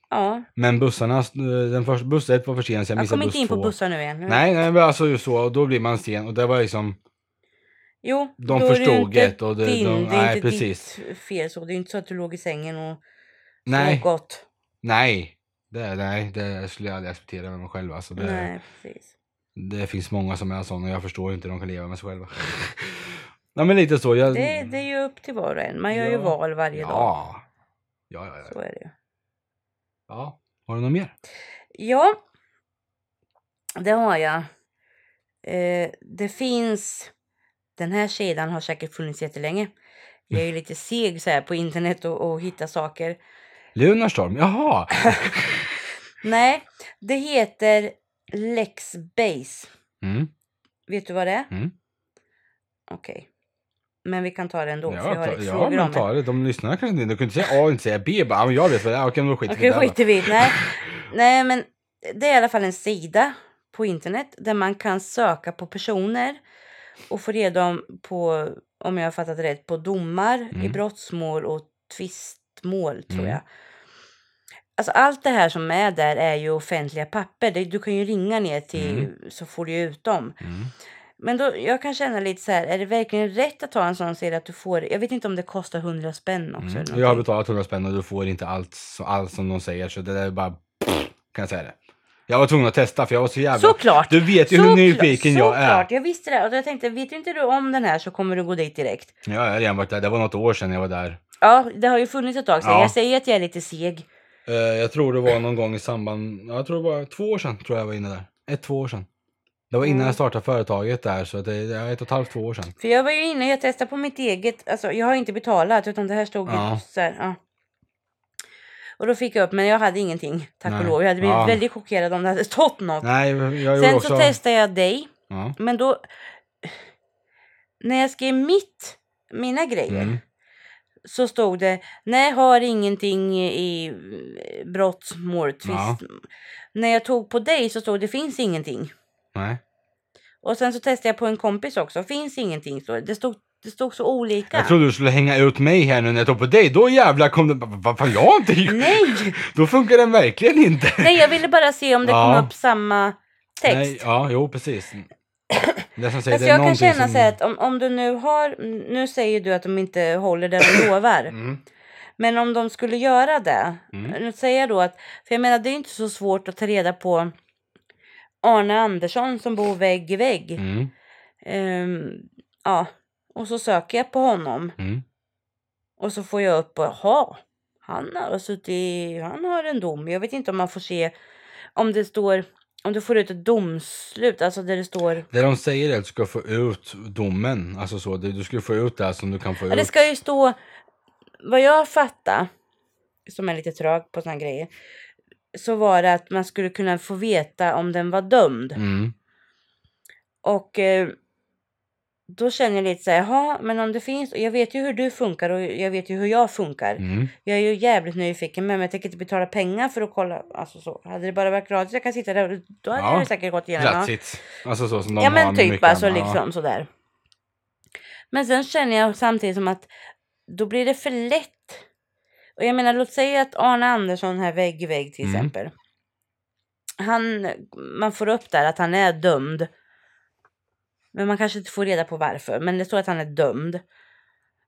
B: ja.
A: Men bussarna, eh, den första, buss ett var försenad så jag
B: Jag
A: missade
B: kom
A: buss
B: inte in på
A: två.
B: bussar nu igen.
A: Nej, nej men alltså just så, och då blir man sen och det var liksom
B: Jo,
A: De
B: då är det ju
A: förstod
B: inte
A: det och det-
B: din,
A: de-
B: det är
A: nej,
B: inte
A: precis.
B: ditt fel så. Det är inte så att du låg i sängen och
A: Nej,
B: sov gott.
A: nej. Det, nej, det skulle jag aldrig acceptera med mig själv. Alltså det,
B: Nej, precis.
A: det finns många som är sådana och jag förstår inte hur de kan leva med sig själva. [laughs] nej, men lite så. Jag,
B: Det, det är ju upp till var och en. Man gör ju
A: Ja.
B: val varje dag.
A: ja. Ja, ja, ja.
B: Så är det ju.
A: ja. Har du något mer?
B: Ja, det har jag. Eh, det finns... Den här sidan har säkert funnits jättelänge. Jag är ju lite seg så här på internet och, och hitta saker. [laughs]
A: Lunarstorm? Jaha!
B: Nej, det heter Lexbase.
A: Mm.
B: Vet du vad det är?
A: Mm.
B: Okej. Men vi kan ta det ändå, för jag har
A: Ja,
B: lite
A: ja
B: frågor
A: men
B: om det.
A: ta det. De lyssnar kanske inte. De kunde inte säga A och inte säga B. Bara, ja, men jag vet vad det är. Okej, men då skiter vi i
B: Okej,
A: det. då.
B: skiter vi i det.
A: [laughs]
B: Nej. Nej, men det är i alla fall en sida på internet där man kan söka på personer och få reda om- på, om jag har fattat det rätt, på domar i
A: Mm.
B: brottmål och tvistmål tror
A: Mm.
B: jag. Alltså allt det här som är där är ju offentliga papper. Det- Du kan ju ringa ner till så får du ju ut dem.
A: Mm.
B: Men då, jag kan känna lite så här, är det verkligen rätt att ta en sån serie att du får, jag vet inte om det kostar 100 spänn också.
A: Mm.
B: eller
A: Jag har
B: någonting.
A: betalat 100 spänn och du får inte allt, som- allt som de säger. Så det där är bara... Kan jag säga det. Jag var tvungen att testa för jag var så jävla...
B: Såklart!
A: Du vet ju hur
B: Såklart-
A: nyfiken jag är.
B: Såklart, jag visste det. Och jag tänkte, vet inte du om den här så kommer du gå dit direkt.
A: Ja, Jag har redan varit där. Det var något år sedan jag var där.
B: Ja, det har ju funnits ett tag sedan.
A: Ja.
B: Jag säger att jag är lite seg.
A: Eh, jag tror det var någon gång i samband... ja, Jag tror det var två år sedan tror jag var inne där. Ett, två år sedan. Det var innan
B: Mm.
A: jag startade företaget där så att det det är ett och ett halvt, två år sedan.
B: För jag var ju inne, jag testade på mitt eget. Alltså jag har inte betalat utan det här stod ju
A: Ja.
B: så här. Ja. Och då fick jag upp, men jag hade ingenting. Tack
A: Nej.
B: och lov. Jag hade blivit
A: Ja.
B: väldigt chockerad om det hade stått något.
A: Nej, jag gjorde
B: Sen
A: också...
B: så testade jag dig.
A: Ja.
B: Men då... När jag skrev mitt, mina grejer.
A: Mm.
B: så stod det nej har ingenting i eh, brottmål, tvist.
A: Ja.
B: När jag tog på dig så stod det finns ingenting.
A: Nej.
B: Och sen så testade jag på en kompis också, finns ingenting. Så det, stod, det stod så olika.
A: Jag trodde du skulle hänga ut mig här nu när jag tog på dig. Då jävlar kom det... Vad fan, jag har inte gjort...
B: Nej!
A: Då funkar den verkligen inte.
B: nej, jag ville bara se om det
A: Ja.
B: kom upp samma text.
A: Nej, ja, jo precis. Det som säger,
B: Fast Alltså,
A: det är
B: jag kan
A: någonting
B: känna
A: som...
B: så här att om, om du nu har, nu säger du att de inte håller det de lovar.
A: Mm.
B: Men om de skulle göra det,
A: Mm.
B: nu säger jag då att, för jag menar det är inte så svårt att ta reda på Arne Andersson som bor vägg i vägg.
A: Mm.
B: Ehm, ja, och så söker jag på honom
A: Mm.
B: och så får jag upp och jaha, han har suttit, i- han har en dom. Jag vet inte om man får se om det står, om du får ut ett domslut, alltså där det står.
A: Det de säger är att du ska få ut domen. Alltså så, du du ska få ut det här som du kan få
B: Ja, det
A: ut.
B: ska ju stå, vad jag fattar, som är lite trög på såna grejer, så var det att man skulle kunna få veta om den var dömd.
A: Mm.
B: Och eh, då känner jag lite så här, jaha, men om det finns, och jag vet ju hur du funkar och jag vet ju hur jag funkar.
A: Mm.
B: Jag är ju jävligt nyfiken men jag tänker inte betala pengar för att kolla. Alltså så. Hade det bara varit gratis jag kan sitta där då hade
A: Ja.
B: jag säkert gått igenom.
A: That's it. Alltså så som de
B: Ja
A: har
B: men
A: med
B: typ
A: mycket
B: alltså
A: annat.
B: liksom sådär. Men sen känner jag samtidigt som att då blir det för lätt. Och jag menar låt säga att Arne Andersson här vägg i vägg till
A: Mm.
B: exempel. Han, man får upp där att han är dömd. Men man kanske inte får reda på varför. Men det står att han är dömd.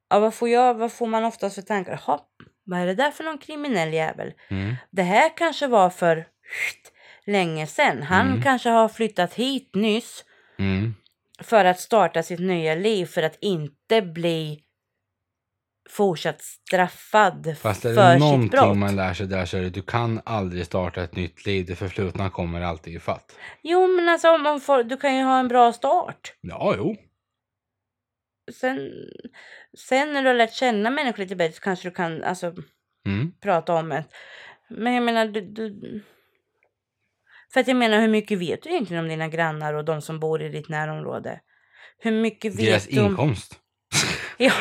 B: Ja, vad får jag? Vad får man oftast för tankar? Jaha, vad är det där för någon kriminell jävel?
A: Ja. Mm.
B: det här kanske var för länge sedan. Han
A: Mm.
B: kanske har flyttat hit nyss
A: Mm.
B: för att starta sitt nya liv för att inte bli fortsatt straffad
A: Fast är det
B: för sitt brott.
A: någonting man lär sig där så är det du kan aldrig starta ett nytt liv. Det förflutna kommer alltid ifatt.
B: Jo men alltså om man får, du kan ju ha en bra start.
A: Ja, jo.
B: Sen, sen när du har lärt känna människor lite bättre så kanske du kan alltså,
A: Mm.
B: prata om det. Men jag menar du, du... För att jag menar hur mycket vet du egentligen om dina grannar och de som bor i ditt närområde? Hur mycket vet
A: Deras
B: du om...
A: inkomst.
B: Ja.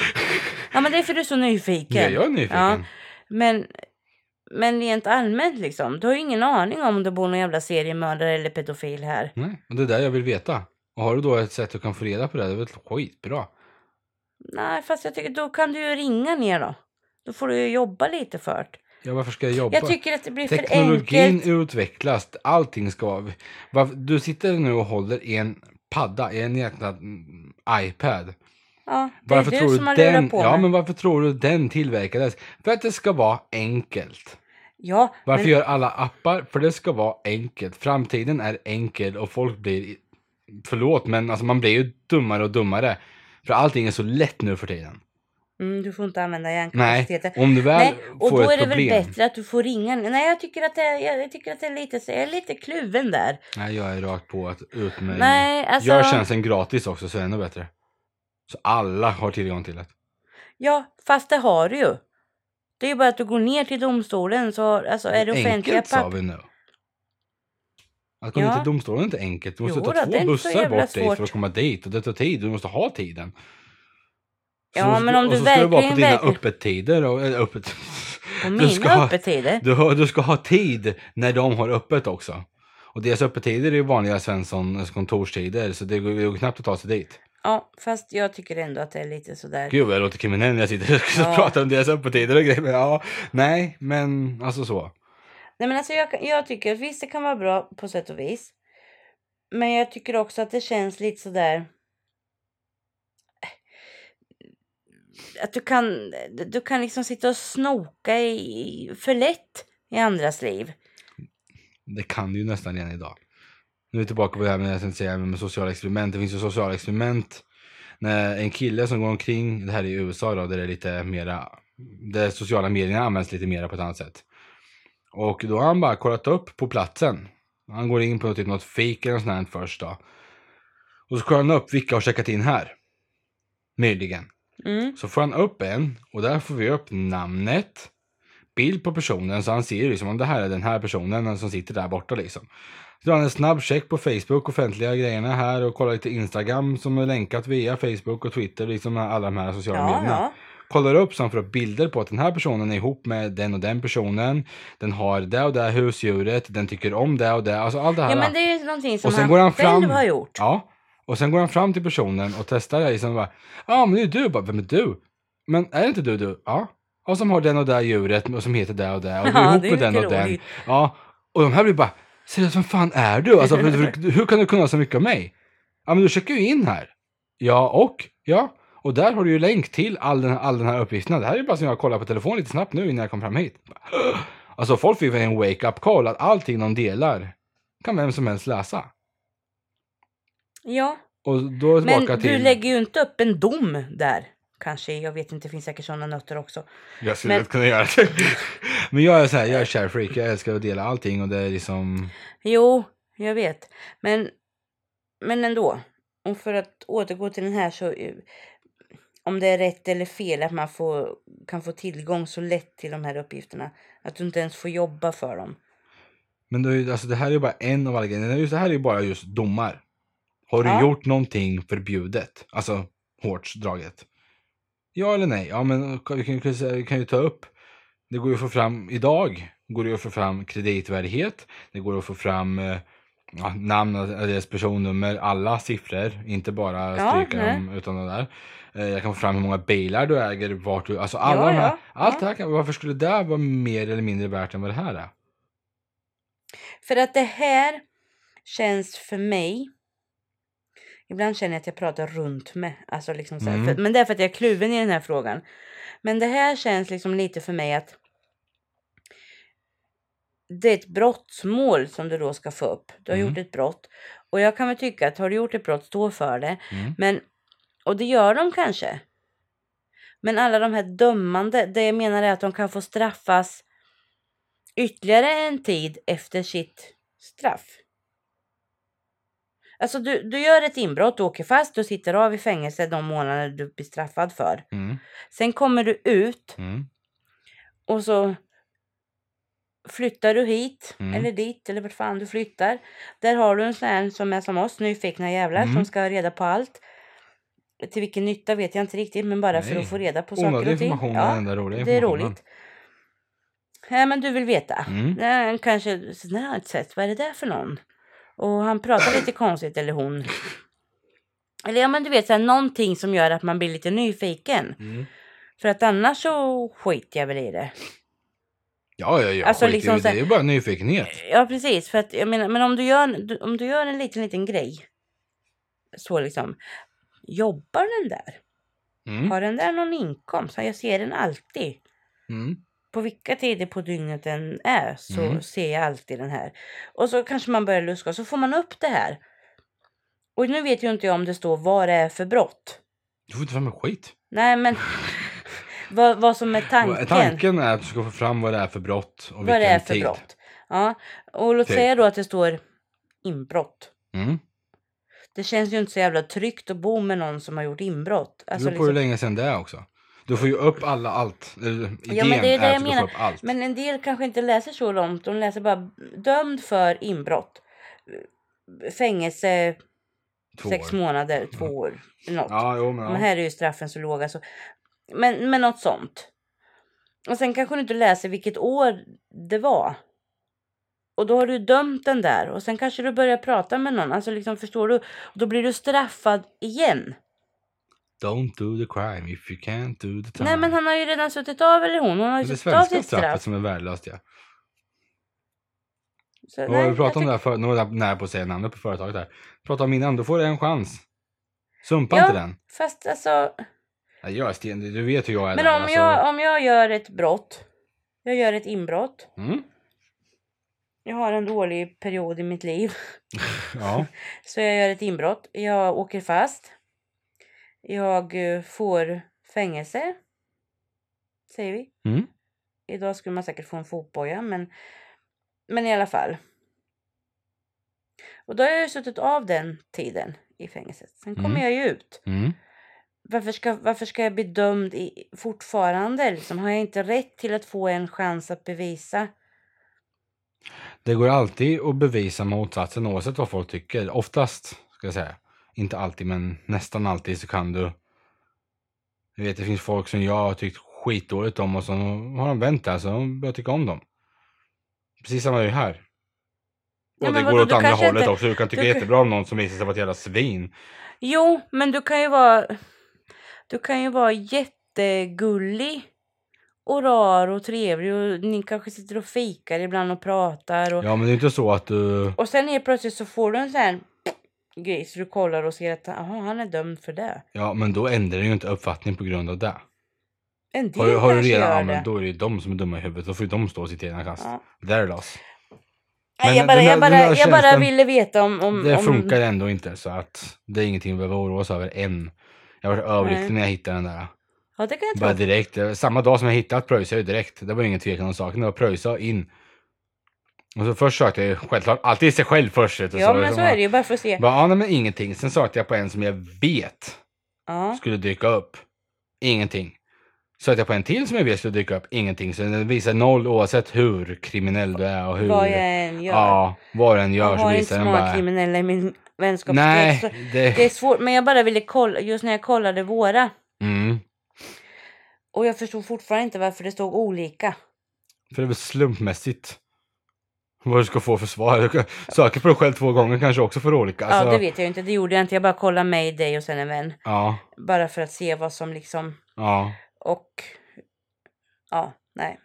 B: ja, men det är för du är så nyfiken.
A: Ja, jag är nyfiken.
B: Ja. Men, men rent allmänt liksom, du har ju ingen aning om det bor någon jävla seriemördare eller pedofil här.
A: Nej, och det är där jag vill veta. Och har du då ett sätt du kan få reda på det, det är väl skitbra.
B: Nej, fast jag tycker då kan du ju ringa ner då. Då får du ju jobba lite för det.
A: Ja, varför ska jag jobba?
B: Jag tycker att det blir för
A: Teknologin
B: enkelt.
A: utvecklas, allting ska vara... Varför- Du sitter nu och håller i en padda, i en jäkla mm, iPad.
B: Ja, det
A: Varför
B: är
A: tror
B: du
A: du
B: som har
A: den,
B: lurat på
A: ja,
B: mig.
A: men varför tror du den tillverkades? För att det ska vara enkelt.
B: Ja,
A: Varför
B: men,
A: gör alla appar? För det ska vara enkelt. Framtiden är enkel och folk blir, förlåt, men alltså man blir ju dummare och dummare. För allting är så lätt nu för tiden.
B: mm, du får inte använda
A: Nej,
B: hjärnkapaciteten.
A: om du väl
B: Nej, och
A: får
B: då
A: ett
B: är det
A: problem.
B: väl bättre att du får ringa. Nej, jag tycker att det, jag, jag tycker att det är lite så. Jag är lite kluven där.
A: Nej, jag är rakt på att ut med...
B: Nej, alltså.
A: Gör tjänsten gratis också så är det ännu bättre. Så alla har tillgång till det.
B: Ja, fast det har du ju. Det är ju bara att du går ner till domstolen så har- alltså, är det offentliga
A: enkelt sa
B: papper.
A: vi nu. Att komma
B: Ja.
A: till domstolen är inte enkelt. Du måste
B: Jo
A: ta
B: då, det är
A: två
B: inte så
A: bussar
B: jävla
A: bort dig för
B: svårt.
A: att komma dit och det tar tid. Du måste ha tiden. Så
B: Ja,
A: måste
B: men om
A: och
B: du
A: så ska du vara på
B: verkligen,
A: dina
B: verkligen-
A: öppettider. Och, eller öppet,
B: På
A: Du
B: mina
A: ska ha-
B: öppettider.
A: du, har, du ska ha tid när de har öppet också. Och deras öppettider är ju vanliga Svenssons kontorstider så det går ju knappt att ta sig dit.
B: Ja, fast jag tycker ändå att det är lite sådär.
A: Gud vad jag låter kriminell när jag sitter och
B: Ja.
A: pratar om deras öppettider och grejer. Men ja, nej, men alltså så.
B: Nej, men alltså jag, jag tycker att visst det kan vara bra på sätt och vis. Men jag tycker också att det känns lite sådär. Att du kan, du kan liksom sitta och snoka i, för lätt i andras liv.
A: Det kan du ju nästan redan idag. Nu är vi tillbaka på det här med, jag tänkte säga, med sociala experiment. Det finns ju sociala experiment. När en kille som går omkring, det här är i USA då, där det är lite mera, där sociala medierna används lite mera på ett annat sätt. Och då har han bara kollat upp på platsen. Han går in på typ något fik eller något sånt här först då. Och så kollar han upp vilka har checkat in här. Nyligen.
B: Mm.
A: Så får han upp en och där får vi upp namnet, bild på personen så han ser ju liksom om det här är den här personen som sitter där borta liksom. Så gör han en snabb check på Facebook, offentliga grejerna här och kollar lite Instagram som är länkat via Facebook och Twitter, liksom alla de här sociala
B: Ja,
A: medierna
B: ja.
A: kollar upp så han får upp bilder på att den här personen är ihop med den och den personen. Den har det och det här husdjuret, den tycker om det och det. Alltså allt det här.
B: ja, men det är ju någonting som
A: Och sen
B: han,
A: går han
B: själv
A: fram-
B: har gjort.
A: Ja. Och sen går han fram till personen och testar det. Liksom bara, ja men det är du. Bara, Vem är du? Men är det inte du du? Ja. Och som har den och det djuret och som heter det och det. Och du är
B: Ja,
A: ihop
B: det är
A: med den
B: lite
A: och den.
B: roligt.
A: Ja. Och de här blir bara, seriöst vem fan är du? Alltså, för, för, hur kan du kunna så mycket om mig? Ja men du checkar ju in här. Ja och? Ja. Och där har du ju länk till all den, all den här uppgifterna. Det här är ju bara som jag kollar på telefon lite snabbt nu innan jag kom fram hit. Bara, Alltså folk fick en wake-up call att allting de delar kan vem som helst läsa.
B: Ja,
A: Och då
B: men
A: tillbaka till...
B: du lägger ju inte upp en dom där. Kanske, jag vet inte, det finns säkert sådana nötter också.
A: Jag skulle
B: Men-
A: lätt kunna göra det. [laughs] Men jag är så här, jag är share freak, jag älskar att dela allting och det är liksom...
B: Jo, jag vet. Men, men ändå. Och för att återgå till den här så. eh, Om det är rätt eller fel att man får, kan få tillgång så lätt till de här uppgifterna. Att du inte ens får jobba för dem.
A: Men det, är ju- alltså, det här är ju bara en av alla grejer. Just det här är ju bara just domar. Har du
B: Ja.
A: gjort någonting förbjudet? Alltså hårt draget. Ja eller nej? Ja men vi kan, ju- vi kan ju ta upp. Det går ju att få fram idag. Går det ju att få fram kreditvärdighet. Det går att få fram eh, ja, namn, adress, personnummer, alla siffror. Inte bara
B: Ja,
A: stryka
B: nej.
A: dem utan det där. Eh, Jag kan få fram hur många bilar du äger, vart du... Alltså alla
B: Ja,
A: de här,
B: ja,
A: Allt
B: ja.
A: det här kan, varför skulle det här vara mer eller mindre värt än vad det här är?
B: För att det här känns för mig. Ibland känner jag att jag pratar runt med. Alltså liksom så här,
A: Mm.
B: för, men det är för att jag är kluven i den här frågan. Men det här känns liksom lite för mig att. Det är ett brottsmål som du då ska få upp. Du har
A: Mm.
B: gjort ett brott. Och jag kan väl tycka att har du gjort ett brott, stå för det.
A: Mm.
B: Men, och det gör de kanske. Men alla de här dömande, det jag menar är att de kan få straffas ytterligare en tid efter sitt straff. Alltså du, du gör ett inbrott, du åker fast, du sitter av i fängelse de månader du blir straffad för.
A: Mm.
B: Sen kommer du ut
A: Mm.
B: och så flyttar du hit
A: Mm.
B: eller dit eller vart fan du flyttar. Där har du en sån här som är som oss, nyfikna jävlar
A: Mm.
B: som ska ha reda på allt. Till vilken nytta vet jag inte riktigt men bara för
A: Nej.
B: att få reda på saker
A: Onödig
B: och ting.
A: information är den enda roliga
B: det är
A: informationen.
B: roligt. Nej men du vill veta.
A: Mm.
B: Nej, kanske, så, nej jag har inte sett, vad är det där för någon? Och han pratar lite konstigt eller hon. Eller ja men du vet så här, någonting som gör att man blir lite nyfiken.
A: Mm.
B: För att annars så skiter jag väl i det.
A: Ja, ja, ja.
B: Alltså,
A: Alltså,
B: liksom
A: det.
B: så här-
A: det är ju bara nyfikenhet.
B: Ja precis, för att jag menar, men om du gör, om du gör en liten, liten grej. Så liksom, jobbar den där?
A: Mm.
B: Har den där någon inkomst? Ja, Jag ser den alltid.
A: Mm.
B: På vilka tider på dygnet den är så
A: Mm.
B: ser jag alltid den här. Och så kanske man börjar luska och så får man upp det här. Och nu vet ju inte jag om det står vad det är för brott.
A: Du får inte fram en skit.
B: Nej
A: [laughs]
B: men vad, vad som är tanken.
A: Tanken. Tanken är att du ska få fram vad det är för brott och
B: vad det
A: vilken
B: är för
A: tid.
B: brott. Ja. Och låt
A: Typ.
B: säga då att det står inbrott.
A: Mm.
B: Det känns ju inte så jävla tryggt att bo med någon som har gjort inbrott.
A: Det
B: Alltså,
A: beror på hur
B: liksom,
A: länge sedan det är också. Du får ju upp alla allt. Eller, Idén
B: Ja, men det är det
A: är
B: jag
A: att du ska
B: menar.
A: få upp allt.
B: men en del kanske inte läser så långt. De läser bara dömd för inbrott. Fängelse
A: Två
B: sex
A: år. Mm.
B: månader, två år. Något.
A: Ja, jo, men, ja.
B: Men här är ju straffen så låga. Så... Men, men något sånt. Och sen kanske du inte läser vilket år det var. Och då har du dömt den där och sen kanske du börjar prata med någon. Alltså liksom förstår du? Då blir du straffad igen.
A: Don't do the crime if you can't do the time.
B: Nej men han har ju redan suttit av eller hon. Hon har ju
A: Liksom. det
B: suttit av
A: är svenska
B: sitt
A: straffet
B: straff.
A: som är värdelöst ja.
B: Så,
A: Och vi
B: jag
A: pratade om det här för, nu var jag nära på att säga namnet på företaget här. Pratade om innan, då får du en chans. Sumpa
B: Ja.
A: inte den.
B: tycker- Fast alltså.
A: Nej, jag är sten, du vet hur jag är
B: Men
A: där.
B: om
A: alltså.
B: jag, om jag gör ett brott. Jag gör ett inbrott.
A: Mm?
B: Jag har en dålig period i mitt liv. [laughs]
A: Ja.
B: Så jag gör ett inbrott. Jag åker fast. Jag eh, får fängelse. Säger vi.
A: Mm.
B: Idag skulle man säkert få en fotboja men, men i alla fall. Och då har jag ju suttit av den tiden i fängelset. Sen kommer
A: Mm.
B: jag ju ut.
A: Mm.
B: Varför ska, varför ska jag bli dömd i, fortfarande? Liksom, har jag inte rätt till att få en chans att bevisa?
A: Det går alltid att bevisa motsatsen oavsett vad folk tycker. Oftast, ska jag säga. Inte alltid, men nästan alltid så kan du. Jag vet, det finns folk som jag har tyckt skitdåligt om och så har de vänt det, så de börjar tycka om dem. Precis samma är ju här. Och
B: Ja,
A: det
B: men
A: går
B: vadå,
A: åt
B: du
A: andra
B: kanske
A: hållet
B: inte-
A: också. Du kan tycka
B: du kan-
A: jättebra om någon som visar sig vara ett jävla svin.
B: Jo, men du kan ju vara... Du kan ju vara jättegullig och rar och trevlig och ni kanske sitter och fikar ibland och pratar och,
A: Ja, men det är ju inte så att du...
B: och sen helt plötsligt så får du en sån här grej så du kollar och ser att aha, han är dömd för det.
A: Ja, men då ändrar du ju inte uppfattning på grund av det.
B: En del
A: Har du, har du
B: kanske
A: redan
B: gör
A: använt,
B: det.
A: då är det ju de som är dumma i huvudet. Då får ju de stå sitt egna kast.
B: Ja.
A: There loss.
B: Nej,
A: Men
B: jag, bara,
A: den där-
B: jag, bara,
A: den där
B: jag bara
A: tjänsten-
B: ville veta om... om
A: Det
B: om,
A: funkar ändå inte, så att det är ingenting vi behöver oroa oss över än. Jag var överlycklig
B: Nej.
A: när jag hittade den där.
B: Ja, det kan jag
A: Bara
B: tro.
A: direkt, eh, samma dag som jag hittat pröjsade jag ju direkt. Det var ingen tvekan om saken. Det var pröjsa och in. Och så först sökte jag ju självklart alltid sig själv först. vet du,
B: Ja, men så
A: liksom,
B: är det ju. Bara för att se.
A: Bara, ja, nej, men ingenting. Sen sökte jag på en som jag vet
B: Ja.
A: skulle dyka upp. Ingenting. Sökte jag på en till som jag vet skulle dyka upp. Ingenting. Så den visar noll oavsett hur kriminell du är och hur...
B: Vad jag än gör.
A: Ja, vad den gör
B: jag
A: så
B: har inte
A: visar
B: så
A: den
B: många
A: bara...
B: kriminella i min vänskapskrets.
A: Nej,
B: så- Det är
A: det...
B: svårt, men jag bara ville kolla, just när jag kollade våra.
A: Mm.
B: Och jag förstod fortfarande inte varför det stod olika.
A: För det är väl slumpmässigt. Vad du ska få för svar. Du kan söka på dig själv två gånger kanske också för olika. Alltså,
B: Ja, det vet jag ju inte. Det gjorde jag inte. Jag bara kollade mig, dig och sen en vän.
A: Ja,
B: Bara för att se vad som liksom...
A: ja.
B: Och... Ja, nej.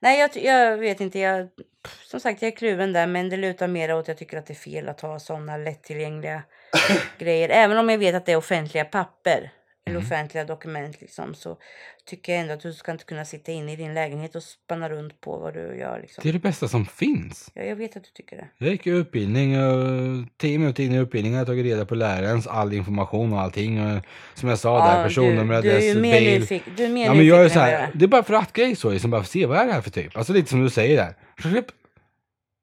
B: Nej, jag, ty- jag vet inte. Jag, pff, som sagt, jag är kluven där. Men det lutar mer åt att jag tycker att det är fel att ha sådana lättillgängliga
A: [laughs]
B: grejer. Även om jag vet att det är offentliga papper. Eller
A: Mm.
B: offentliga dokument liksom. Så tycker jag ändå att du ska inte kunna sitta inne i din lägenhet och spanna runt på vad du gör liksom.
A: Det är det bästa som finns.
B: Ja, jag vet att du tycker det.
A: Jag gick ju utbildning och tio minuter in i utbildningen har jag tagit reda på lärarens all information och allting. Och som jag sa, där personnummer,
B: du, du är
A: adress,
B: ju mer
A: bil.
B: nyfiken. Du är mer
A: Ja, men jag är ju
B: nyfiken
A: så
B: än vad
A: här, det är bara för att grej så, liksom bara för att se vad är det här för typ. Alltså lite som du säger där. Rip.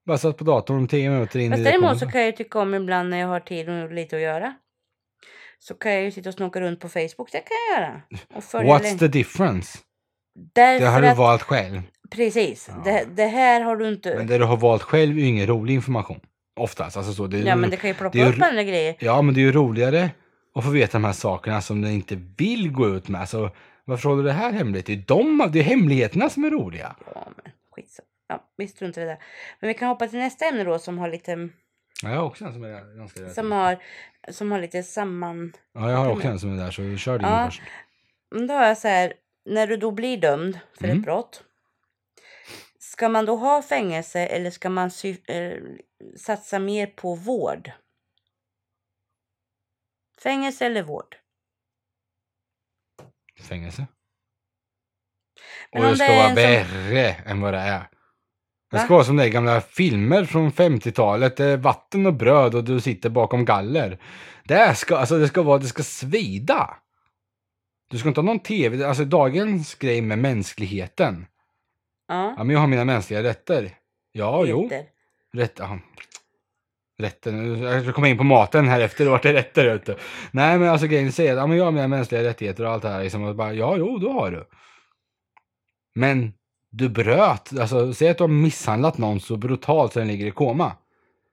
A: Bara satt på datorn tio minuter in
B: Fast
A: i det.
B: däremot så kan jag ju tycka om ibland när jag har tid och lite att göra. Så kan jag ju sitta och snoka runt på Facebook. Det kan jag göra. Och följa
A: What's
B: länk-
A: the difference?
B: Därför
A: Det har du
B: att,
A: valt själv.
B: Precis.
A: Ja.
B: Det, det här har du inte...
A: Men det du har valt själv är ju ingen rolig information. Oftast. Alltså så, det är,
B: ja men det kan ju plocka
A: är
B: upp
A: ro-
B: andra grejer.
A: ja, men det är ju roligare att få veta de här sakerna som du inte vill gå ut med. Alltså, varför håller du det här hemligt? Det är, de, det är hemligheterna som är roliga.
B: Ja men skitsamma. Ja, vi struntar i det. där. Men vi kan hoppa till nästa ämne då som har lite,
A: Ja, jag har också en som är ganska
B: som har, som har lite samman...
A: Ja, jag har också en som är där, så kör din
B: Ja.
A: först.
B: Men Mm, Då har jag så här, när du då blir dömd för
A: Mm.
B: ett brott. Ska man då ha fängelse eller ska man sy- eh, satsa mer på vård? Fängelse eller vård?
A: fängelse.
B: Men
A: och
B: om
A: det ska
B: det är
A: vara
B: en som-
A: värre än vad det är. Det
B: Va?
A: ska vara som det är i gamla filmer från 50-talet. Det är vatten och bröd och du sitter bakom galler. Det ska, alltså det ska vara, det ska svida. Du ska inte ha någon tv, alltså dagens grej med mänskligheten.
B: Ja.
A: Ja, men jag har mina mänskliga rätter. Ja, jo.
B: Peter.
A: Rätt, aha. Rätten, jag ska komma in på maten här efter, vart är rätter ute? Nej men alltså grejen säger att ja, men jag har mina mänskliga rättigheter och allt det här liksom, och bara, ja jo då har du. Men du bröt, alltså säg att du har misshandlat någon så brutalt så den ligger i koma.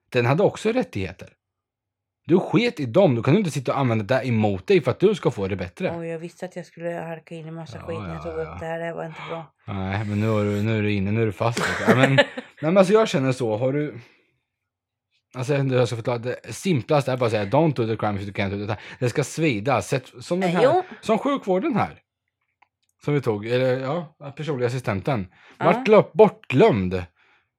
A: Den hade också rättigheter. Du sket i dem, då kan du inte sitta och använda det emot dig för att du ska få det bättre.
B: Oj, jag visste att jag skulle halka in i massa
A: Ja,
B: skit när
A: ja,
B: jag tog
A: ja.
B: upp det här. Det här var inte bra.
A: Nej men nu, har du, nu är du inne, nu är du fast. Ja, men, nej, men alltså jag känner så, har du... Alltså jag vet inte hur jag ska förklara, det simplaste är bara att säga don't do the crime if you can't do the time. Det ska svida, sätt, som den
B: Eh,
A: här,
B: jo.
A: som sjukvården här. Som vi tog, eller ja, personliga assistenten.
B: Ja.
A: Vart glö- bortglömd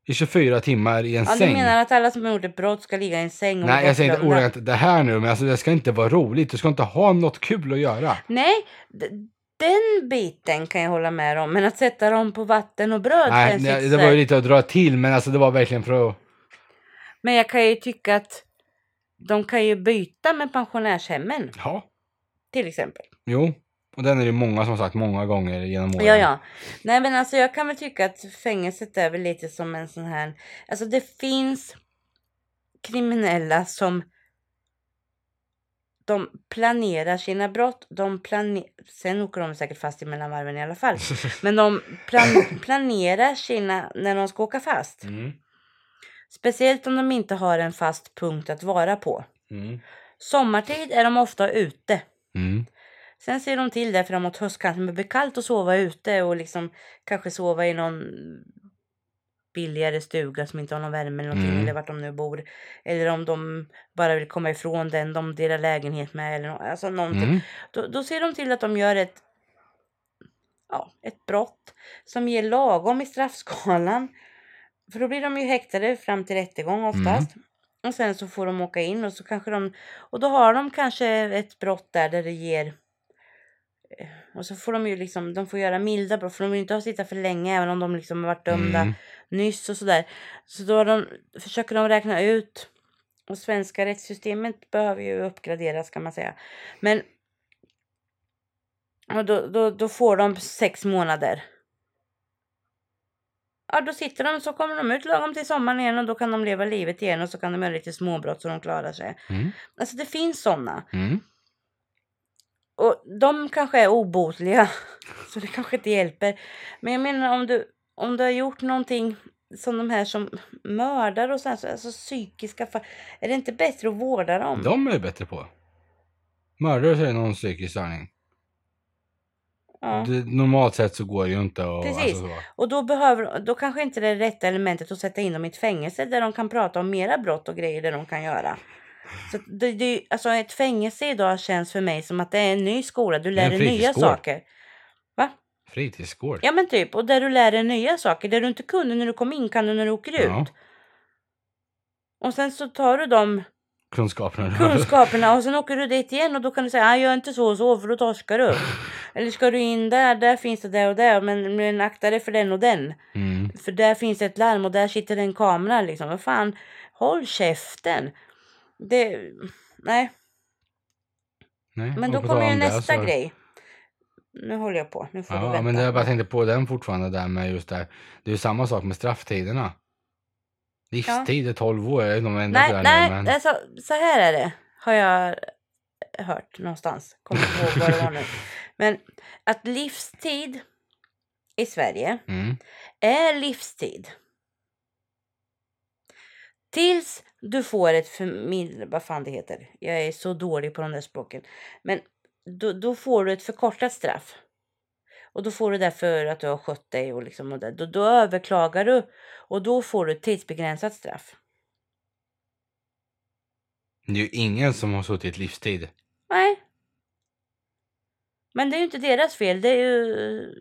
A: i 24 timmar i en
B: Ja, du
A: säng.
B: menar att alla som har gjort ett brott ska ligga i en säng och
A: Nej
B: bli
A: jag säger inte
B: bortglömda?
A: ordagrant det här nu, men alltså det ska inte vara roligt, du ska inte ha något kul att göra.
B: Nej, d- den biten kan jag hålla med om. Men att sätta dem på vatten och bröd
A: Nej,
B: känns
A: nej,
B: lite
A: det
B: så
A: var
B: här-
A: ju lite att dra till, men alltså det var verkligen för att...
B: Men jag kan ju tycka att de kan ju byta med pensionärshemmen
A: Ja.
B: till exempel.
A: Jo, och den är det många som har sagt många gånger genom åren.
B: Ja, ja. Nej, men alltså jag kan väl tycka att fängelset är väl lite som en sån här... Alltså det finns kriminella som... De planerar sina brott. De plane... Sen åker de säkert fast i mellanvarven i alla fall. Men de [laughs] plan... planerar sina när de ska åka fast.
A: [laughs] Mm,
B: Speciellt om de inte har en fast punkt att vara på.
A: mm,
B: Sommartid är de ofta ute.
A: mm.
B: Sen ser de till det framåt höstkanten. Men det blir kallt att sova ute och liksom kanske sova i någon billigare stuga som inte har någon värme eller någonting
A: Mm.
B: eller vart de nu bor. Eller om de bara vill komma ifrån den de delar lägenhet med eller nå- alltså någonting.
A: Mm.
B: Då, då ser de till att de gör ett, ja, ett brott som ger lagom i straffskalan. För då blir de ju häktade fram till rättegång oftast. Och sen så får de åka in och så kanske de, och då har de kanske ett brott där, där det ger eh, och så får de ju liksom, de får göra milda brott för de vill inte ha sitta för länge även om de liksom har varit dömda
A: Mm.
B: nyss och sådär. Så då har de, försöker de räkna ut. Och svenska rättssystemet behöver ju uppgraderas kan man säga. Men och då, då, då får de sex månader. Ja, då sitter de så kommer de ut lagom till sommaren igen och då kan de leva livet igen och så kan de göra lite småbrott så de klarar sig.
A: Mm.
B: Alltså det finns sådana.
A: Mm.
B: Och de kanske är obotliga. [laughs] Så det kanske inte hjälper. Men jag menar om du, om du har gjort någonting som de här som mördar och sånt, alltså psykiska fall. Är det inte bättre att vårda dem?
A: De är ju bättre på. Mördare så är det någon psykisk störning.
B: ja.
A: Det, normalt sett så går det ju inte att...
B: Precis.
A: Alltså, så.
B: Och då, behöver, då kanske inte det är rätta elementet att sätta in dem i ett fängelse där de kan prata om mera brott och grejer där de kan göra. Så att det, det, är ju- alltså ett fängelse idag känns för mig som att det är en ny skola. Du
A: är
B: lär
A: en
B: dig nya
A: fritidsgård.
B: saker. Va?
A: Fritidsgård.
B: Ja men typ. Och där du lär dig nya saker. Det du inte kunde när du kom in kan du när du åker ut.
A: Ja.
B: Och sen så tar du de
A: Kunskaperna.
B: kunskaperna och sen åker du dit igen och då kan du säga "Ah, gör inte så och så för då torskar
A: [laughs]
B: du. Eller ska du in där, där finns det där och där men, men akta dig för den och den.
A: Mm.
B: För där finns ett larm och där sitter en kamera liksom. Vad fan, håll käften. Det, nej,
A: Nej,
B: men
A: och
B: då
A: på tal
B: kommer ju
A: om det
B: nästa
A: så-
B: grej. Nu håller jag på, nu får du
A: Ja,
B: vänta.
A: men jag bara tänkte på den fortfarande där med just det här. Det är ju samma sak med strafftiderna. Livstid är 12 år, jag vet inte om jag ändrat det
B: nej,
A: där
B: nej,
A: nu, men...
B: alltså, så här är det. Har jag hört någonstans. Kommer inte ihåg vad det var nu. Men att livstid i Sverige
A: Mm.
B: är livstid. Tills du får ett förmild... Vad fan det heter. Jag är så dålig på de där språken. Men då, då får du ett förkortat straff. Och då får du det för att du har skött dig och liksom och det. Då, då överklagar du och då får du ett tidsbegränsat straff.
A: Det är ju ingen som har suttit livstid.
B: Nej. Men det är ju inte deras fel. Det är ju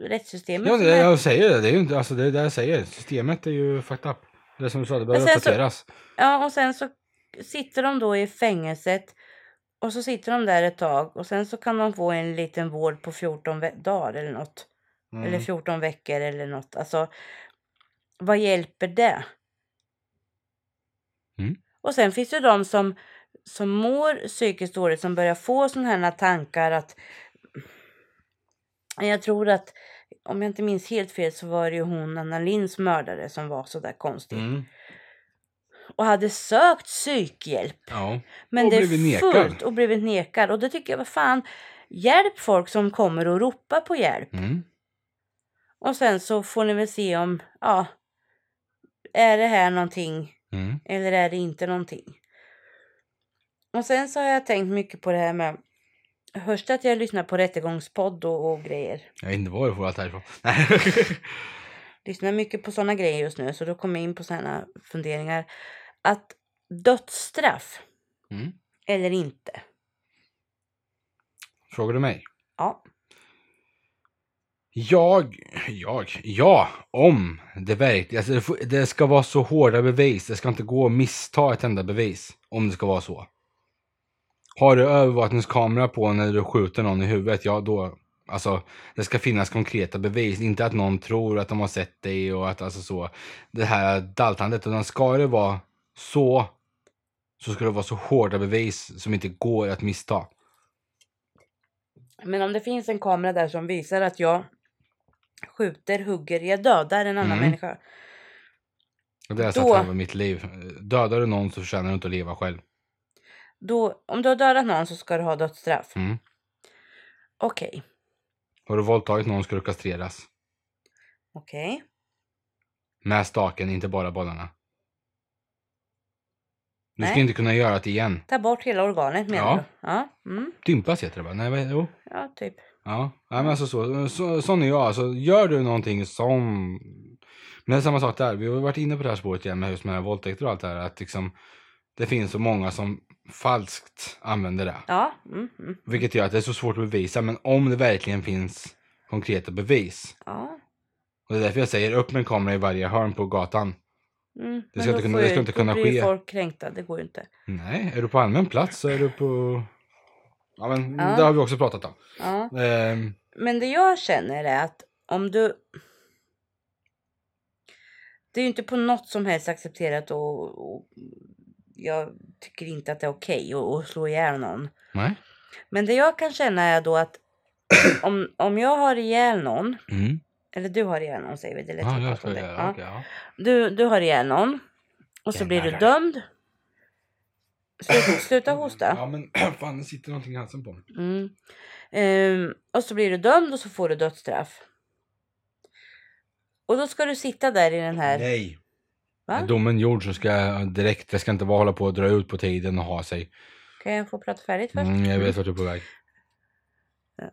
B: rättssystemet
A: Ja,
B: som
A: det,
B: är-
A: jag säger det. Det är ju inte, alltså det är det jag säger. Systemet är ju fucked up. Det som du sa, det behöver
B: Men sen så-
A: uppdateras.
B: Ja, och sen så sitter de då i fängelset Och så sitter de där ett tag och sen så kan de få en liten vård på 14 ve- dagar eller något.
A: Mm.
B: Eller 14 veckor eller något. Alltså, vad hjälper det?
A: Mm.
B: Och sen finns det de som, som mår psykiskt dåligt som börjar få sådana här tankar att jag tror att om jag inte minns helt fel så var det ju hon Anna Linds mördare som var sådär konstig.
A: Mm.
B: Och hade sökt psykhjälp.
A: Ja.
B: Men
A: Och
B: det
A: blivit
B: är
A: nekad.
B: fullt och blivit nekad. Och det tycker jag, vad fan. Hjälp folk som kommer och ropar på hjälp.
A: Mm.
B: Och sen så får ni väl se om, ja. Är det här någonting
A: Mm.
B: eller är det inte någonting? Och sen så har jag tänkt mycket på det här med. Först att jag lyssnar på rättegångspodd och, och grejer.
A: Jag vet inte var jag får allt det här ifrån. Nej.
B: Lyssnar mycket på sådana grejer just nu. Så då kommer jag in på sådana funderingar. Att dödsstraff
A: Mm.
B: eller inte.
A: Frågar du mig?
B: Ja.
A: Jag, jag, ja, om det verkligen, alltså det, får- det ska vara så hårda bevis, det ska inte gå att missta ett enda bevis, om det ska vara så. Har du övervakningskamera på när du skjuter någon i huvudet, ja då, alltså det ska finnas konkreta bevis, inte att någon tror att de har sett dig och att alltså så, det här daltandet, utan ska det vara så, så ska det vara så hårda bevis som inte går att missta.
B: Men om det finns en kamera där som visar att jag skjuter, hugger, jag dödar en annan
A: Mm.
B: människa.
A: Och det har jag sagt
B: Då-
A: hela mitt liv. Dödar du någon så förtjänar du inte att leva själv.
B: Då, om du har dödat någon så ska du ha dödsstraff.
A: Mm.
B: Okej,
A: Har du våldtagit någon ska du kastreras.
B: okej.
A: Med staken, inte bara bollarna. Du ska
B: Nej.
A: inte kunna göra det igen.
B: Ta bort hela organet menar
A: Ja.
B: du? Ja. Mm.
A: Dympas heter det va? Nej, vad- jo.
B: Ja, typ.
A: Ja, Nej, men alltså så, så, sån är jag. Alltså, gör du någonting som... Men det är samma sak där. Vi har ju varit inne på det här spåret igen med just med våldtäkter och allt det här. Att liksom, det finns så många som falskt använder det.
B: Ja. Mm, mm.
A: Vilket gör att det är så svårt att bevisa. Men om det verkligen finns konkreta bevis.
B: ja.
A: Och det är därför jag säger upp med en kamera i varje hörn på gatan.
B: Mm.
A: Det ska
B: Men
A: inte
B: då
A: kunna-
B: får
A: det ska
B: ju-
A: inte kunna
B: då blir ju
A: ske.
B: folk kränkta, det går ju inte.
A: Nej, är du på allmän plats så är du på... Ja, men
B: Ja.
A: det har vi också pratat om.
B: Ja.
A: Ehm,
B: Men det jag känner är att om du... Det är ju inte på något som helst accepterat och, och jag tycker inte att det är okej att- att slå ihjäl någon.
A: nej.
B: Men det jag kan känna är då att om, om jag har ihjäl någon,
A: Mm.
B: eller du har ihjäl någon säger vi, det är lättare
A: Ja,
B: att
A: jag
B: prata om
A: ska
B: det.
A: göra.
B: Ja.
A: Okej, ja.
B: Du, du har ihjäl någon och så blir du
A: Jävlar.
B: dömd.
A: [laughs]
B: Sluta, sluta hosta.
A: Ja, men [clears throat] fan, det sitter någonting i halsen på mig.
B: Mm. Ehm, och så blir du dömd och så får du dödsstraff. Och då ska du sitta där i den här...
A: Nej.
B: Va?
A: Är domen gjord så ska jag direkt, jag ska inte bara hålla på och dra ut på tiden och ha sig.
B: Kan jag få prata färdigt först?
A: Mm, jag vet vart du är på väg.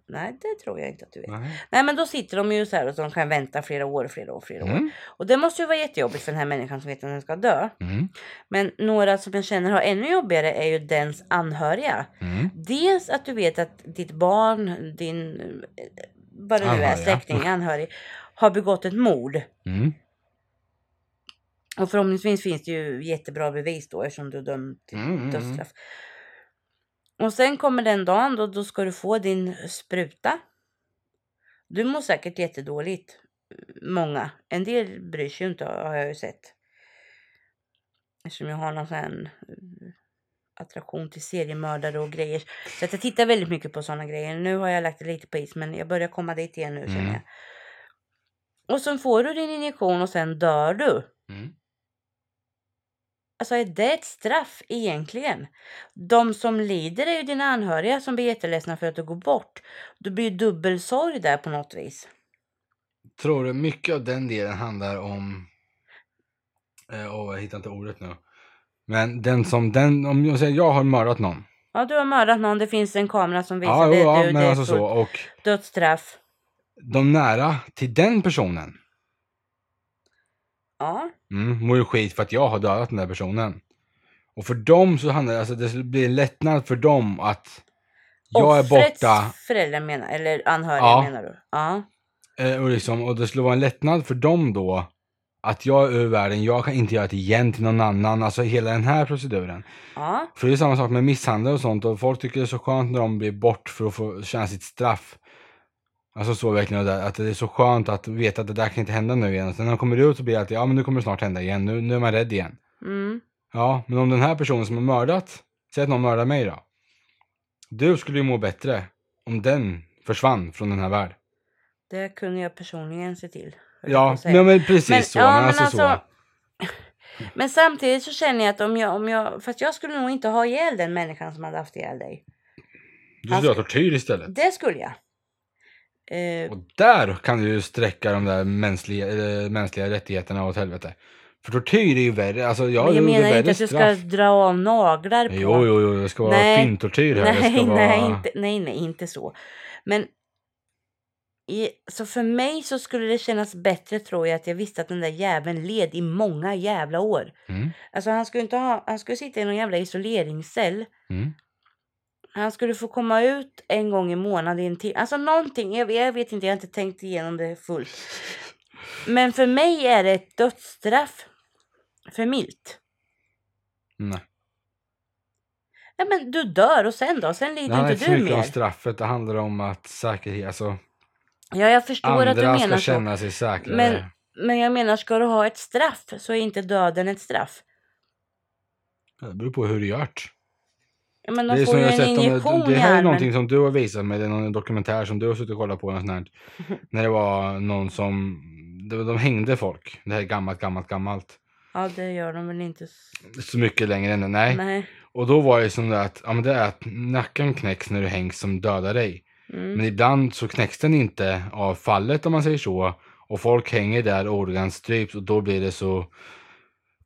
B: Nej, det tror jag inte att du vet.
A: Nej.
B: Nej, men då sitter de ju så här och de kan vänta flera år, flera år, flera år.
A: Mm.
B: Och det måste ju vara jättejobbigt för den här människan som vet att den ska dö.
A: Mm.
B: Men några som jag känner har ännu jobbigare är ju dens anhöriga.
A: Mm.
B: Dels att du vet att ditt barn, din, eh, vad det nu är,
A: Anhöriga.
B: släkting, anhörig, har begått ett mord.
A: Mm.
B: Och förhoppningsvis finns det ju jättebra bevis då eftersom du är dömd till
A: Mm, mm,
B: dödsstraff. Och sen kommer den dagen då, då ska du få din spruta. Du mår säkert jättedåligt. Många. En del bryr sig ju inte har jag ju sett. Eftersom jag har någon sån här eh, attraktion till seriemördare och grejer. Så att jag tittar väldigt mycket på sådana grejer. Nu har jag lagt det lite på is men jag börjar komma dit igen nu känner
A: Mm.
B: jag. Och sen får du din injektion och sen dör du.
A: Mm.
B: Alltså är det ett straff egentligen? De som lider är ju dina anhöriga som blir jätteledsna för att du går bort. Du blir ju dubbel sorg där på något vis.
A: Tror du mycket av den delen handlar om... Eh, Åh, jag hittar inte ordet nu. Men den som, den, om jag säger jag har mördat någon.
B: Ja, du har mördat någon. Det finns en kamera som visar
A: Ja, jo,
B: det.
A: ja,
B: du,
A: men
B: det är
A: alltså så.
B: fullt
A: Och
B: Dödsstraff.
A: de nära till den personen
B: Ja,
A: mm, mår ju skit för att jag har dödat den där personen. Och för dem så handlar det, alltså det blir en lättnad för dem att jag är
B: Offrets
A: borta
B: föräldrar menar Eller anhöriga
A: Ja.
B: menar du? Ja.
A: eh, och, liksom, och det skulle vara en lättnad för dem då att jag är ur världen, jag kan inte göra det igen till någon annan. Alltså hela den här proceduren.
B: Ja.
A: För det är samma sak med misshandel och sånt och folk tycker det är så skönt när de blir bort för att få känna sitt straff. Alltså så verkligen, det där, att det är så skönt att veta att det där kan inte hända nu igen. Och Sen när de kommer ut så blir det alltid, ja men nu kommer det snart hända igen, nu, nu är man rädd igen.
B: Mm.
A: Ja, men om den här personen som har mördat, säg att någon mördar mig då. Du skulle ju må bättre om den försvann från den här världen.
B: Det kunde jag personligen se till. höll jag på
A: Ja,
B: att säga.
A: nej, men precis så.
B: ja,
A: men alltså, så.
B: [laughs] Men samtidigt så känner jag att om jag, om jag... Fast jag skulle nog inte ha ihjäl den människan som hade haft ihjäl dig.
A: Du skulle göra tortyr istället.
B: Det skulle jag. Eh,
A: Och där kan du ju sträcka de där mänskliga, eller, mänskliga rättigheterna åt helvete. För tortyr är ju värre. Alltså, jag,
B: men jag
A: det är
B: menar
A: värre
B: inte att du ska
A: straff.
B: dra av naglar på...
A: Jo, jo, jo, det ska vara
B: Nej.
A: fintortyr här. det
B: Nej,
A: ska
B: nej,
A: vara...
B: inte, nej, nej, inte så. Men i, så för mig så skulle det kännas bättre tror jag att jag visste att den där jäveln led i många jävla år.
A: Mm,
B: Alltså han skulle inte ha, han skulle sitta i någon jävla isoleringscell.
A: mm.
B: Han skulle få komma ut en gång i månaden i en timme. Alltså någonting, jag, jag vet inte, jag har inte tänkt igenom det fullt. Men för mig är det ett dödsstraff för milt.
A: Nej.
B: Ja men du dör och sen då? Sen
A: Det
B: lider
A: handlar
B: inte
A: inte så
B: du
A: mycket om
B: mer.
A: straffet. Det handlar om att säkerhet, alltså,
B: Ja jag förstår att du
A: andra
B: menar
A: ska
B: så.
A: känna sig säkrare.
B: Men, men jag menar, ska du ha ett straff så är inte döden ett straff.
A: Det beror på hur du gör det.
B: Ja, men
A: Det
B: de
A: är
B: får
A: som
B: ju
A: jag har
B: en
A: sett
B: injektion
A: om, det
B: i
A: här är
B: armen.
A: någonting som du har visat mig, det är någon dokumentär som du har suttit och kollat på. Och sånt här,
B: [laughs]
A: när det var någon som, det var- de hängde folk. Det här är gammalt, gammalt, gammalt.
B: Ja, det gör de väl inte. s-
A: Så mycket längre än det, nej.
B: Nej.
A: Och då var det som det att, ja men det är att nacken knäcks när du hängs som dödar dig.
B: Mm.
A: Men ibland så knäcks den inte av fallet om man säger så. Och folk hänger där och organ stryps och då blir det så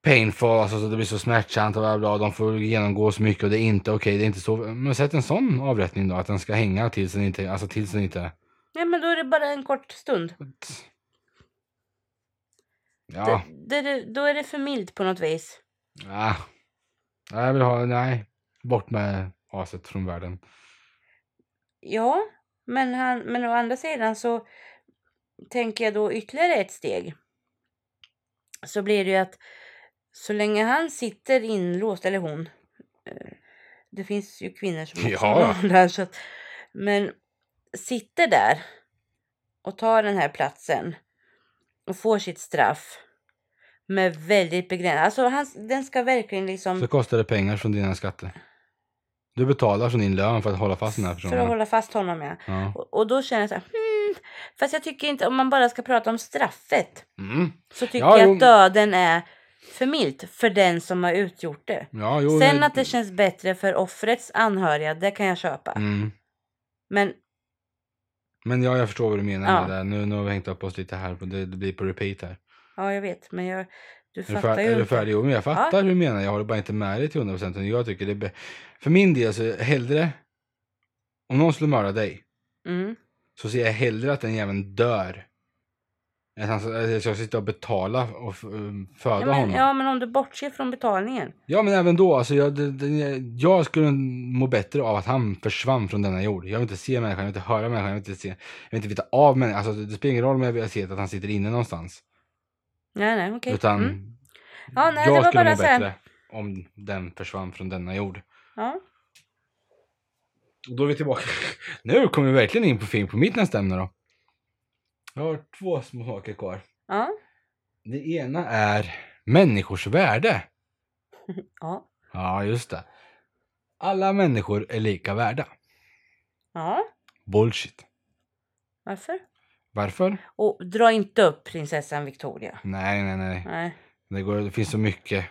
A: painful, alltså så det blir så smärtsamt och bla bla, de får genomgå så mycket och det är inte okej, det är inte så. Men sätt en sån avrättning då, att den ska hänga tills den inte, alltså tills den inte...
B: Nej, men då är det bara en kort stund.
A: Ja,
B: Det, det, då är det för milt på något vis.
A: ah. nej jag vill ha, nej. Bort med aset från världen.
B: Ja, men, han, men å andra sidan så tänker jag då ytterligare ett steg. Så blir det ju att så länge han sitter inlåst, eller hon. eh, Det finns ju kvinnor som också
A: [laughs] Ja.
B: har det här, så att, Men sitter där och tar den här platsen och får sitt straff med väldigt begränsat. Alltså han, den ska verkligen liksom
A: Så kostar det pengar från dina skatter. Du betalar från din lön för att hålla fast den här
B: för att
A: personen.
B: hålla fast honom. Ja.
A: Ja.
B: Och, och då känner jag så här, hmm, fast jag tycker inte, om man bara ska prata om straffet,
A: Mm.
B: så tycker
A: Ja,
B: jag
A: jo.
B: att döden är för milt för den som har utgjort det.
A: Ja, jo,
B: Sen
A: nej.
B: att det känns bättre för offrets anhöriga, det kan jag köpa.
A: Mm.
B: Men
A: Men ja, jag förstår vad du menar
B: Ja.
A: med det där. Nu, nu har vi hängt upp oss lite här. på- Det, det blir på repeat här.
B: ja, jag vet, men jag, du
A: Är du,
B: fattar
A: fär,
B: ju
A: är du
B: inte.
A: färdig? Jo, men jag fattar hur du menar. Jag håller bara inte med dig till 100 procent. Jag tycker det är bä- För min del så är det hellre... Om någon skulle mörda dig
B: Mm.
A: så ser jag hellre att den jäveln dör. Än att han ska- att jag ska sitta och betala och f- um, föda
B: Ja, men,
A: honom.
B: ja, men om du bortser från betalningen.
A: Ja, men även då. Alltså, jag, det, det, jag skulle må bättre av att han försvann från denna jord. Jag vill inte se människan, jag vill inte höra människan, jag vill inte, se, jag vill inte veta av människan. Alltså, det, det spelar ingen roll om jag vill se att han sitter inne någonstans.
B: Nej, nej, okej.
A: Utan
B: Mm. Ja, nej, det
A: jag
B: var
A: skulle
B: bara
A: må
B: så här-
A: bättre om den försvann från denna jord.
B: Ja.
A: Och då är vi tillbaka. [laughs] nu kommer vi verkligen in på film på mitt nästa ämne då. Jag har två små saker kvar.
B: Ja.
A: Det ena är människors värde.
B: Ja.
A: Ja, just det. Alla människor är lika värda.
B: ja,
A: Bullshit.
B: varför?
A: Varför?
B: Och dra inte upp prinsessan Victoria.
A: Nej, nej, nej.
B: Nej,
A: Det, går, det finns så mycket.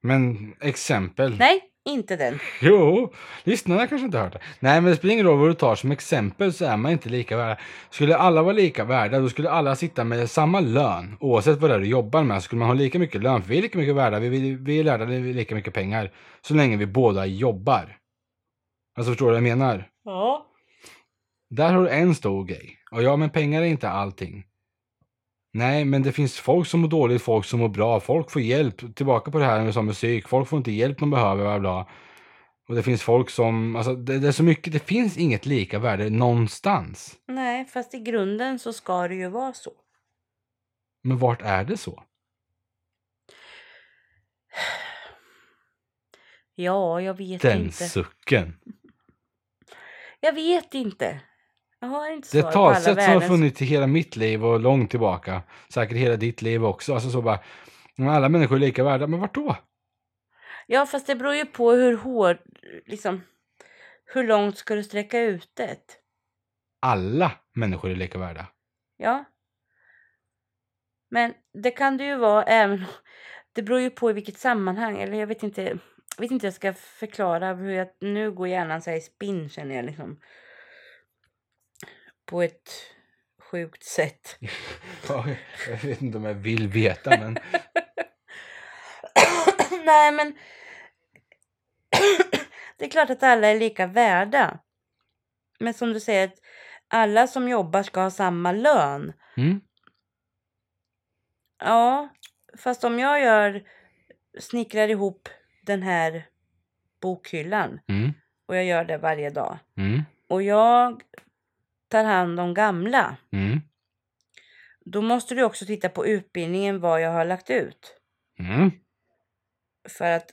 A: Men exempel.
B: nej inte den.
A: [laughs] Jo, lyssnarna kanske inte har hört det. Nej, men det spelar ingen roll vad du tar som exempel så är man inte lika värda. Skulle alla vara lika värda, då skulle alla sitta med samma lön. Oavsett vad det är du jobbar med, så skulle man ha lika mycket lön. För vi är lika mycket värda, vi, vi, vi är lärda, vi är lika mycket pengar. Så länge vi båda jobbar. Alltså förstår du vad jag menar?
B: Ja.
A: Där har du en stor grej. Och ja, men pengar är inte allting. Nej, men det finns folk som mår dåligt, folk som mår bra, folk får hjälp. Tillbaka på det här med som musik, folk får inte hjälp de behöver, bla bla. Och det finns folk som, alltså det, det är så mycket, det finns inget lika värde någonstans.
B: Nej, fast i grunden så ska det ju vara så.
A: Men vart är det så?
B: Ja, jag vet
A: Den
B: inte.
A: sucken.
B: Jag vet inte. Jag har inte
A: Det är
B: svar
A: ett
B: på alla
A: talsätt som har
B: världens...
A: funnits i hela mitt liv och långt tillbaka. Säkert hela ditt liv också. Alltså så bara, men alla människor är lika värda, men vart då?
B: Ja, fast det beror ju på hur hård... Liksom, hur långt ska du sträcka ut det?
A: Alla människor är lika värda.
B: Ja. Men det kan det ju vara även... [laughs] Det beror ju på i vilket sammanhang. Eller jag vet inte. Jag vet inte hur jag ska förklara hur jag... Nu går hjärnan så här i spinn känner jag liksom. På ett sjukt sätt.
A: Ja, Jag vet inte om jag vill veta, men
B: Nej men. [clears throat] det är klart att alla är lika värda. Men som du säger. Att alla som jobbar ska ha samma lön.
A: mm,
B: Ja, fast om jag gör, snickrar ihop den här bokhyllan
A: mm,
B: och jag gör det varje dag
A: mm,
B: och jag tar hand om gamla,
A: mm,
B: då måste du också titta på utbildningen vad jag har lagt ut.
A: mm.
B: För att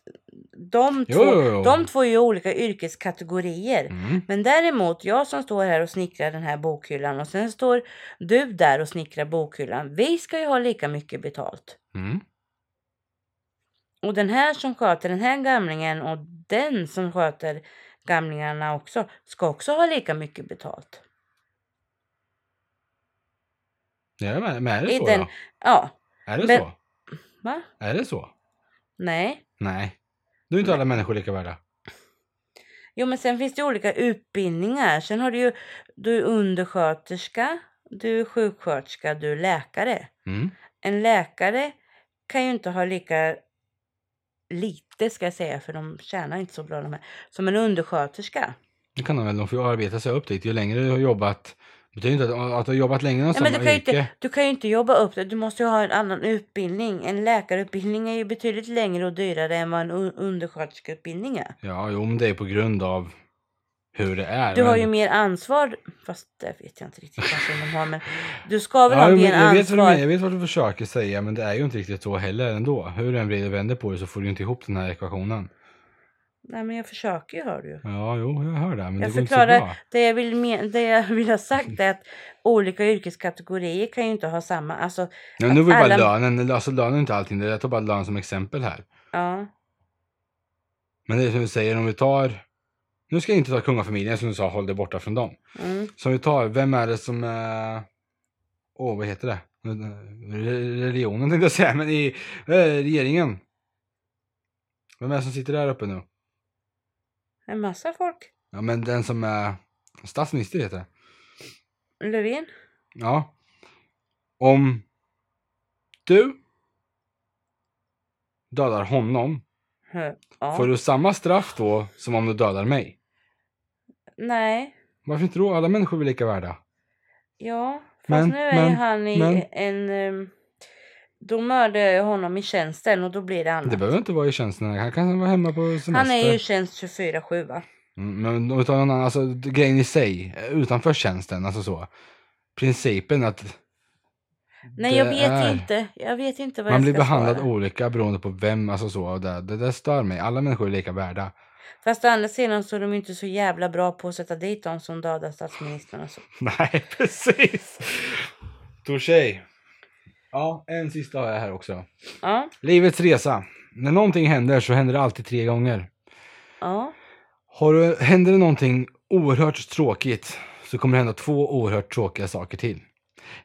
B: de
A: Jo,
B: två,
A: jo, jo.
B: De två är ju olika yrkeskategorier.
A: mm.
B: Men däremot, jag som står här och snickrar den här bokhyllan och sen står du där och snickrar bokhyllan. Vi ska ju ha lika mycket betalt.
A: mm.
B: Och den här som sköter den här gamlingen och den som sköter gamlingarna också ska också ha lika mycket betalt.
A: Ja, men, men är det
B: I
A: så
B: den-
A: då?
B: Ja,
A: Är det
B: men-
A: så?
B: va?
A: Är det så?
B: Nej.
A: Nej. Då är inte alla människor lika värda.
B: Jo, men sen finns det olika utbildningar. Sen har du ju, du är undersköterska, du är sjuksköterska, du är läkare.
A: Mm,
B: En läkare kan ju inte ha lika lite ska jag säga, för de tjänar inte så bra de här, som en undersköterska.
A: det kan de väl, de får ju arbeta sig upp dit. Ju längre du har jobbat, betyder inte att, att du har jobbat länge inom
B: Ja, men
A: samma
B: du kan, ju
A: yrke.
B: inte, du kan ju inte jobba upp det. Du måste ju ha en annan utbildning. En läkarutbildning är ju betydligt längre och dyrare än vad en un- undersköterskeutbildning är.
A: Ja, jo, men det är på grund av hur det är.
B: Du har
A: men-
B: ju mer ansvar. Fast det vet jag inte riktigt kanske de har. Men du ska väl ha
A: jo, men
B: mer
A: jag, vet vad du
B: ansvar.
A: menar, jag vet vad du försöker säga, men det är ju inte riktigt så heller ändå. Hur du än vrider och vänder på det så får du ju inte ihop den här ekvationen.
B: Nej men jag försöker ju hör du ju.
A: Ja, jo, jag hör det, men
B: Jag
A: det går inte så bra.
B: förklarar det jag, vill men, det jag vill ha sagt är att olika yrkeskategorier kan ju inte ha samma. Alltså,
A: Nej, nu var ju
B: alla-
A: bara lönen, alltså lönen är inte allting, jag tar bara lön som exempel här.
B: ja.
A: Men det är som du säger, om vi tar... Nu ska jag inte ta kungafamiljen som du sa, håll dig borta från dem.
B: Mm.
A: Så om vi tar, vem är det som är... Åh, vad heter det? Re- Religionen tänkte jag säga, men i eh, regeringen. Vem är det som sitter där uppe nu?
B: En massa folk.
A: Ja, men den som är statsminister heter det.
B: Löfven.
A: Ja. Om du dödar honom,
B: Hö. Ja.
A: får du samma straff då som om du dödar mig?
B: Nej.
A: Varför inte då? Alla människor är lika värda.
B: Ja, fast
A: Men,
B: nu är
A: men,
B: ju han i
A: men.
B: en... ehm, Då mördar jag ju honom i tjänsten och då blir det annat.
A: Det behöver inte vara i tjänsten. Han kan vara hemma på semester.
B: han är ju i tjänst 24-7 va?
A: Mm, Men utan någon annan, alltså grejen i sig, eh, utanför tjänsten, alltså så. Principen att
B: Nej
A: Det
B: jag vet
A: är-
B: inte. Jag vet inte vad
A: man
B: jag
A: blir
B: ska
A: behandlad
B: svara.
A: olika beroende på vem, alltså så. och Det, det där stör mig. Alla människor är lika värda. [laughs]
B: Fast å andra sidan så är de ju inte så jävla bra på att sätta dit de som dödar statsministern och så.
A: Nej, precis. Touché. Ja, en sista har jag här också.
B: Ja,
A: Livets resa. När någonting händer så händer det alltid tre gånger.
B: ja.
A: Har du, händer det någonting oerhört tråkigt så kommer det hända två oerhört tråkiga saker till.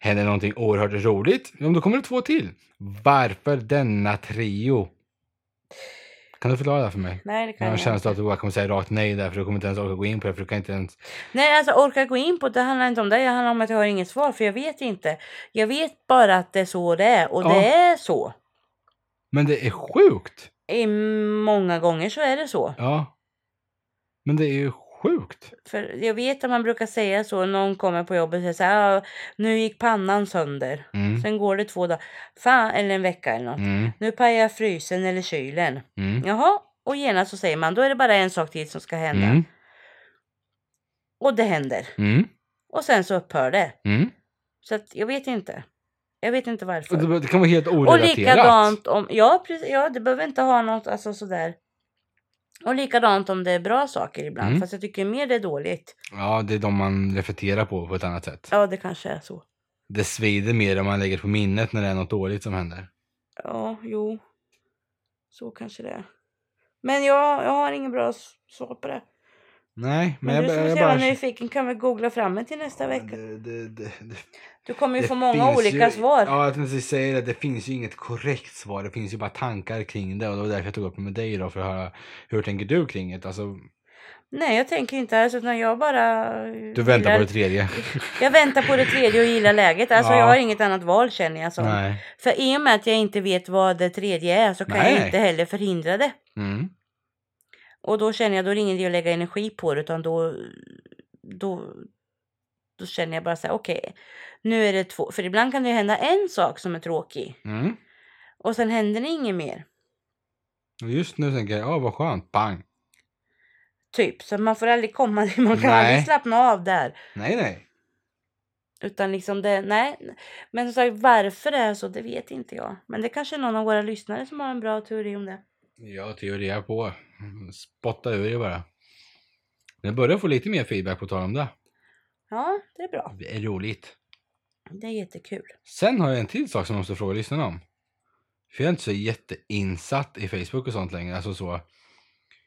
A: Händer det någonting oerhört roligt, ja, men då kommer det två till. Varför denna trio? Kan du förklara det här för mig?
B: Nej det kan
A: Jag har
B: jag
A: en
B: inte.
A: känsla att du bara kommer säga rakt nej där för du kommer inte ens orka gå in på det för du kan inte ens...
B: Nej alltså orkar gå in på det handlar inte om det. Det handlar om att jag har inget svar för jag vet inte. Jag vet bara att det är så det är och
A: Ja.
B: det är så.
A: Men det är sjukt!
B: I många gånger så är det så.
A: Ja. Men det är ju sjukt!
B: För jag vet att man brukar säga så. Någon kommer på jobbet och säger så här. "Ah, Nu gick pannan sönder.
A: Mm.
B: Sen går det två dagar. Fan, eller en vecka eller något.
A: Mm,
B: Nu pajar frysen eller kylen.
A: mm,
B: Jaha. Och genast så säger man. Då är det bara en sak till som ska hända.
A: mm,
B: Och det händer.
A: mm,
B: Och sen så upphör det.
A: mm.
B: Så att jag vet inte. Jag vet inte varför.
A: Och Det det kan vara helt
B: Och
A: orelaterat.
B: likadant om... Ja, precis, ja, det behöver inte ha något alltså, sådär. Och likadant om det är bra saker ibland.
A: Mm.
B: Fast jag tycker mer det är dåligt.
A: Ja, det är de man reflekterar på på ett annat sätt.
B: Ja, det kanske är så.
A: Det svider mer om man lägger på minnet när det är något dåligt som händer.
B: Ja, jo. Så kanske det är. Men jag, jag har ingen bra s- svar på det.
A: Nej, men,
B: Men,
A: jag,
B: du som är
A: jag,
B: så
A: jag
B: jävla
A: bara...
B: nyfiken kan väl googla fram en till nästa vecka.
A: det, det, det, det,
B: Du kommer ju
A: det
B: få många
A: finns
B: olika
A: ju,
B: svar.
A: Ja, jag tänkte säga det. Det finns ju inget korrekt svar. Det finns ju bara tankar kring det. Och det var därför jag tog upp det med dig då. För att höra hur tänker du kring det? Alltså,
B: Nej, jag tänker inte alls utan jag bara... eh,
A: du väntar
B: gillar-
A: på det tredje.
B: [laughs] Jag väntar på det tredje och gillar läget. Alltså
A: Ja.
B: jag har inget annat val känner jag som.
A: Nej.
B: För i och med att jag inte vet vad det tredje är så kan jag
A: Nej.
B: inte heller förhindra det.
A: Mm.
B: Och då känner jag, då är det ingen idé att lägga energi på det utan då... Då, då känner jag bara så här, okej. nu är det två. För ibland kan det ju hända en sak som är tråkig.
A: Mm.
B: Och sen händer det inget mer.
A: Och Just nu tänker jag, ja vad skönt. Bang.
B: Typ. Så man får aldrig komma, man kan
A: Nej.
B: aldrig slappna av där.
A: Nej, nej.
B: Utan liksom det, nej. Men som sagt varför det är så, det vet inte jag. Men det kanske är någon av våra lyssnare som har en bra teori om det.
A: Jag teorier på. Spotta ur det bara. Jag börjar få lite mer feedback på tal om det.
B: Ja, det är bra.
A: Det är roligt.
B: Det är jättekul.
A: Sen har jag en till sak som jag måste fråga lyssnarna om. För jag är inte så jätteinsatt i Facebook och sånt längre. Alltså så.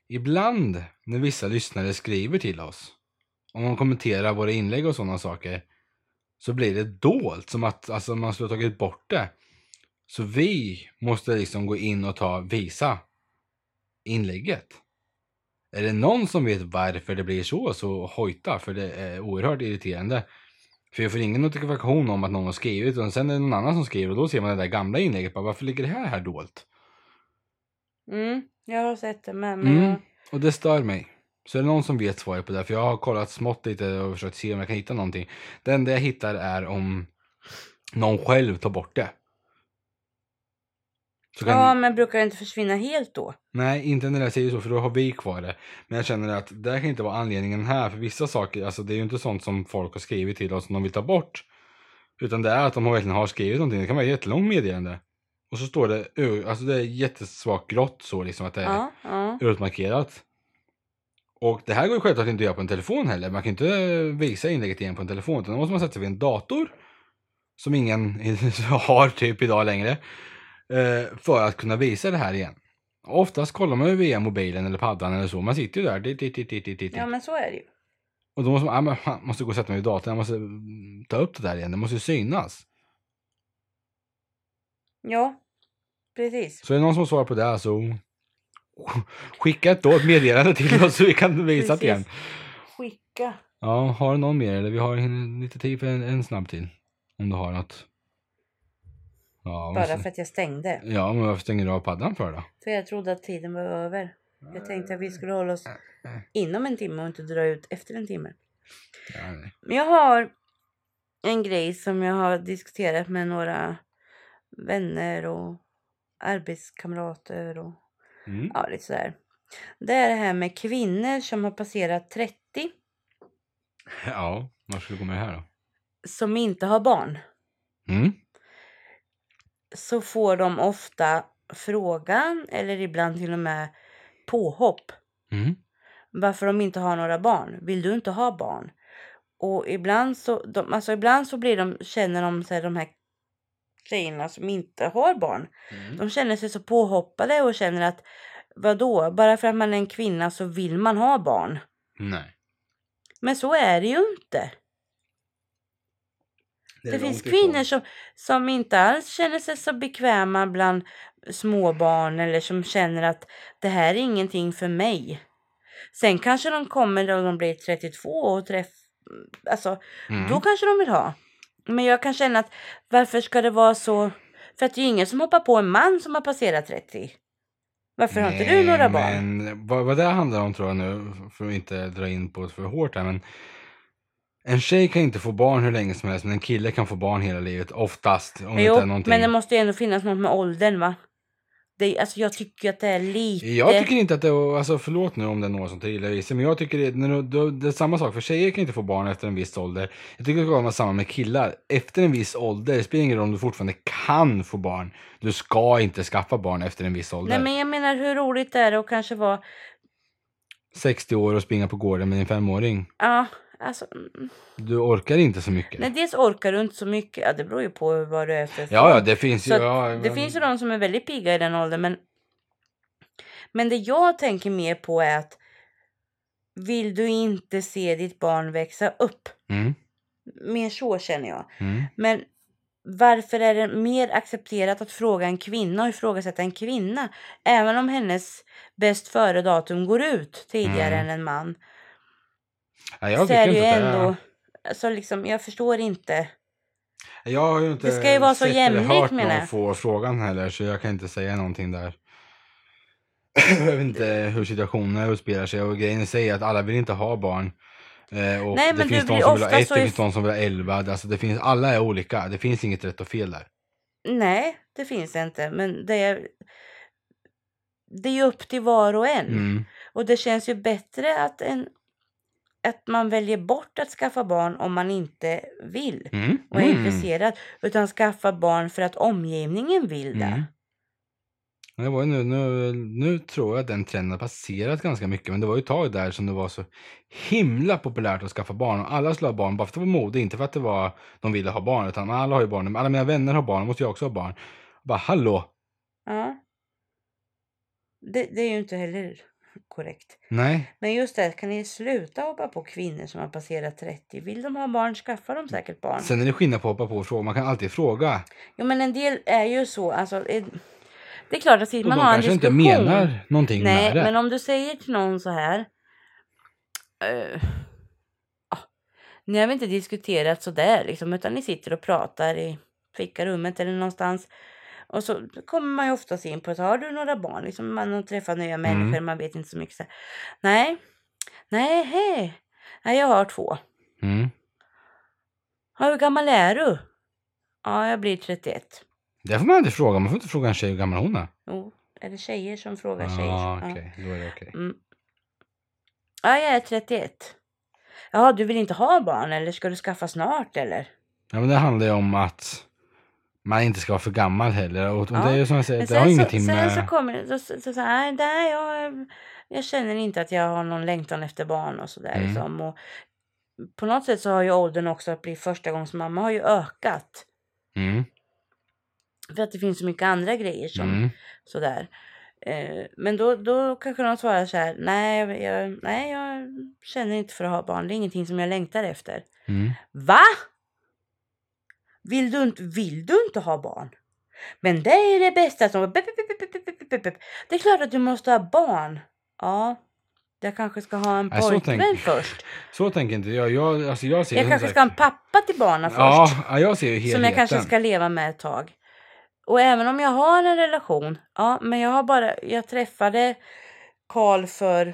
A: Ibland när vissa lyssnare skriver till oss, om de kommenterar våra inlägg och sådana saker, så blir det dolt. Som att alltså, man skulle ha tagit bort det. Så vi måste liksom gå in och ta, visa inlägget. Är det någon som vet varför det blir så, så hojta, för det är oerhört irriterande. För jag får ingen notifikation om att någon har skrivit och sen är det någon annan som skriver och då ser man det där gamla inlägget. Bara, varför ligger det här här dolt?
B: Mm, jag har sett det med. Men
A: Mm.
B: jag,
A: Och det stör mig. Så är det någon som vet svaret på det? För jag har kollat smått lite och försökt se om jag kan hitta någonting. Det enda jag hittar är om någon själv tar bort det. Så kan,
B: Ja, men brukar det inte försvinna helt då?
A: Nej, inte när jag säger så för då har vi kvar det. Men jag känner att det här kan inte vara anledningen här. För vissa saker, alltså det är ju inte sånt som folk har skrivit till oss som de vill ta bort. Utan det är att de har verkligen har skrivit någonting. Det kan vara ett jättelångt meddelande. Och så står det, ö- alltså det är jättesvagt grått så liksom att det är
B: Ja, ja.
A: utmarkerat. Och det här går ju självklart inte att göra på en telefon heller. Man kan ju inte visa inlägget igen på en telefon. Utan då måste man sätta sig vid en dator. Som ingen [laughs] har typ idag längre. eh, För att kunna visa det här igen. Oftast kollar man ju via mobilen eller paddan eller så. Man sitter ju där. Dit, dit, dit, dit, dit, dit.
B: Ja, men så är det ju.
A: Och då måste man, ja, men fan, måste gå och sätta mig vid datorn. Jag måste mm, ta upp det där igen. Det måste ju synas.
B: Ja, precis.
A: Så är det någon som svarar på det så [laughs] skicka ett, då, ett meddelande till oss så vi kan visa
B: Precis.
A: det igen.
B: Skicka.
A: Ja, har du någon mer? Eller vi har en- lite tid för en, en snabb till. Om du har något. Ja, men,
B: Bara för att jag stängde.
A: ja, men varför stänger du av paddan för då?
B: För jag trodde att tiden var över. Jag tänkte att vi skulle hålla oss inom en timme och inte dra ut efter en timme.
A: Ja, nej.
B: Men jag har en grej som jag har diskuterat med några vänner och arbetskamrater och
A: Mm.
B: ja, lite sådär. Det är det här med kvinnor som har passerat 30
A: Ja, var ska vi gå med det här då?
B: som inte har barn.
A: Mm.
B: Så får de ofta frågan eller ibland till och med påhopp
A: Mm.
B: varför de inte har några barn. Vill du inte ha barn? Och ibland så, de, alltså ibland så blir de, känner de sig de här tjejerna som inte har barn.
A: Mm.
B: De känner sig så påhoppade och känner att vadå, bara för att man är en kvinna så vill man ha barn.
A: Nej.
B: Men så är det ju inte. Det, finns kvinnor som, som inte alls känner sig så bekväma bland småbarn eller som känner att det här är ingenting för mig. Sen kanske de kommer då de blir 32 och träff... Alltså,
A: Mm.
B: då kanske de vill ha. Men jag kan känna att varför ska det vara så? För att det är ju ingen som hoppar på en man som har passerat 30. Varför har inte du
A: Nej,
B: några barn?
A: men vad, vad det här handlar om tror jag nu, för att inte dra in på det för hårt här, men en tjej kan inte få barn hur länge som helst, men en kille kan få barn hela livet, oftast. Om det inte
B: Jo,
A: är någonting.
B: men det måste ju ändå finnas något med åldern va? det, alltså jag tycker att det är lite...
A: Jag tycker inte att det var, alltså förlåt nu om det är någon som tar illa vid sig, men jag tycker det, när du, du, det är samma sak för tjejer kan inte få barn efter en viss ålder. Jag tycker det ska vara samma med killar. Efter en viss ålder, det spelar ingen roll om du fortfarande kan få barn. Du ska inte skaffa barn efter en viss ålder.
B: Nej men jag menar hur roligt är det att kanske vara...
A: 60 år och springa på gården med din femåring.
B: Ja, alltså... mm.
A: Du orkar inte så mycket.
B: Nej dels orkar du inte så mycket. Ja det beror ju på vad du är för
A: ja, ja, det finns ju...
B: Så att
A: Ja,
B: Det finns ju de som är väldigt pigga i den åldern men men det jag tänker mer på är att vill du inte se ditt barn växa upp?
A: Mm,
B: Mer så känner jag.
A: mm.
B: Men varför är det mer accepterat att fråga en kvinna och ifrågasätta en kvinna? Även om hennes bäst före datum går ut tidigare
A: Mm.
B: än en man.
A: Nej, jag
B: så
A: tycker
B: är det ju
A: inte att det är-
B: ändå... Så liksom, jag förstår inte.
A: Jag har ju inte
B: Det ska ju vara så
A: sett
B: jämlikt,
A: eller hört
B: menar
A: någon
B: jag.
A: få frågan heller så jag kan inte säga någonting där. [laughs] jag vet inte hur situationen utspelar sig och grejen i sig är att alla vill inte ha barn. Eh, och
B: Nej,
A: det
B: men
A: finns
B: du
A: de
B: blir
A: som vill ha
B: ofta
A: ett,
B: så
A: det
B: i-
A: finns de som vill ha elva. Alltså det finns, alla är olika, det finns inget rätt och fel där.
B: Nej, det finns det inte. Men det är... Det är ju upp till var och en.
A: Mm.
B: Och det känns ju bättre att, en, att man väljer bort att skaffa barn om man inte vill
A: Mm.
B: och är
A: Mm.
B: intresserad. Utan skaffa barn för att omgivningen vill det.
A: Mm. Det var ju nu, nu, nu tror jag att den trenden har passerat ganska mycket, men det var ju ett tag där som det var så himla populärt att skaffa barn och alla skulle ha barn bara för att det var mode, inte för att det var de ville ha barn, utan alla har ju barn, alla mina vänner har barn, då måste jag också ha barn. Bara hallå,
B: Ja. Det, det är ju inte heller korrekt.
A: nej,
B: Men just det, kan ni sluta hoppa på kvinnor som har passerat 30? Vill de ha barn skaffar
A: Mm.
B: de säkert barn.
A: sen är det skillnad på att hoppa på och fråga, man kan alltid fråga.
B: Jo men en del är ju så. Alltså, eh, det är klart att
A: Och
B: sitter
A: de
B: man och har en
A: kanske inte
B: diskussion.
A: menar någonting
B: Nej,
A: med det.
B: men om du säger till någon så här. eh, ja, ni har väl inte diskuterat sådär liksom, utan ni sitter och pratar i fikarummet eller någonstans. Och så kommer man ju oftast in på att har du några barn? Liksom, man har träffat
A: Mm.
B: nya människor, man vet inte så mycket. Så här. Nej, nej, hej. Nej, jag har två.
A: Mm.
B: Ja, hur gammal är du? Ja, jag blir 31.
A: Det får man aldrig fråga, man får inte fråga en tjej hur gammal hon är.
B: Jo, är det tjejer som frågar tjejer?
A: Ja,
B: Ja.
A: okej, då är det okej.
B: Mm. Ja, jag är 31. Jaha, du vill inte ha barn eller ska du skaffa snart eller?
A: Ja, men det handlar ju om att man inte ska vara för gammal heller. Och
B: Ja,
A: det är ju som jag säger,
B: Men
A: det har ju
B: sen, så,
A: ingenting
B: sen
A: med...
B: så kommer det, så, så, så, så nej, nej jag, jag känner inte att jag har någon längtan efter barn och sådär
A: Mm.
B: liksom. Och på något sätt så har ju åldern också att bli första gångs mamma har ju ökat.
A: Mm,
B: För att det finns så mycket andra grejer som
A: mm.
B: sådär. Eh, men då, då kanske de svarar så här, nej jag, jag, nej jag känner inte för att ha barn, det är ingenting som jag längtar efter.
A: Mm.
B: Va? Vill du inte, vill du inte ha barn? Men det är det bästa som... Bup, bup, bup, bup, bup, bup, bup, bup. Det är klart att du måste ha barn. Ja, jag kanske ska ha en
A: Nej, så
B: pojkvän
A: tänk-
B: först.
A: Så tänker inte jag. Jag, alltså jag ser
B: Jag
A: som
B: kanske
A: sagt-
B: ska ha en pappa till barnen först.
A: Ja, ja, jag ser ju helheten.
B: som jag kanske ska leva med ett tag. Och även om jag har en relation. Ja, men jag har bara... Jag träffade Karl för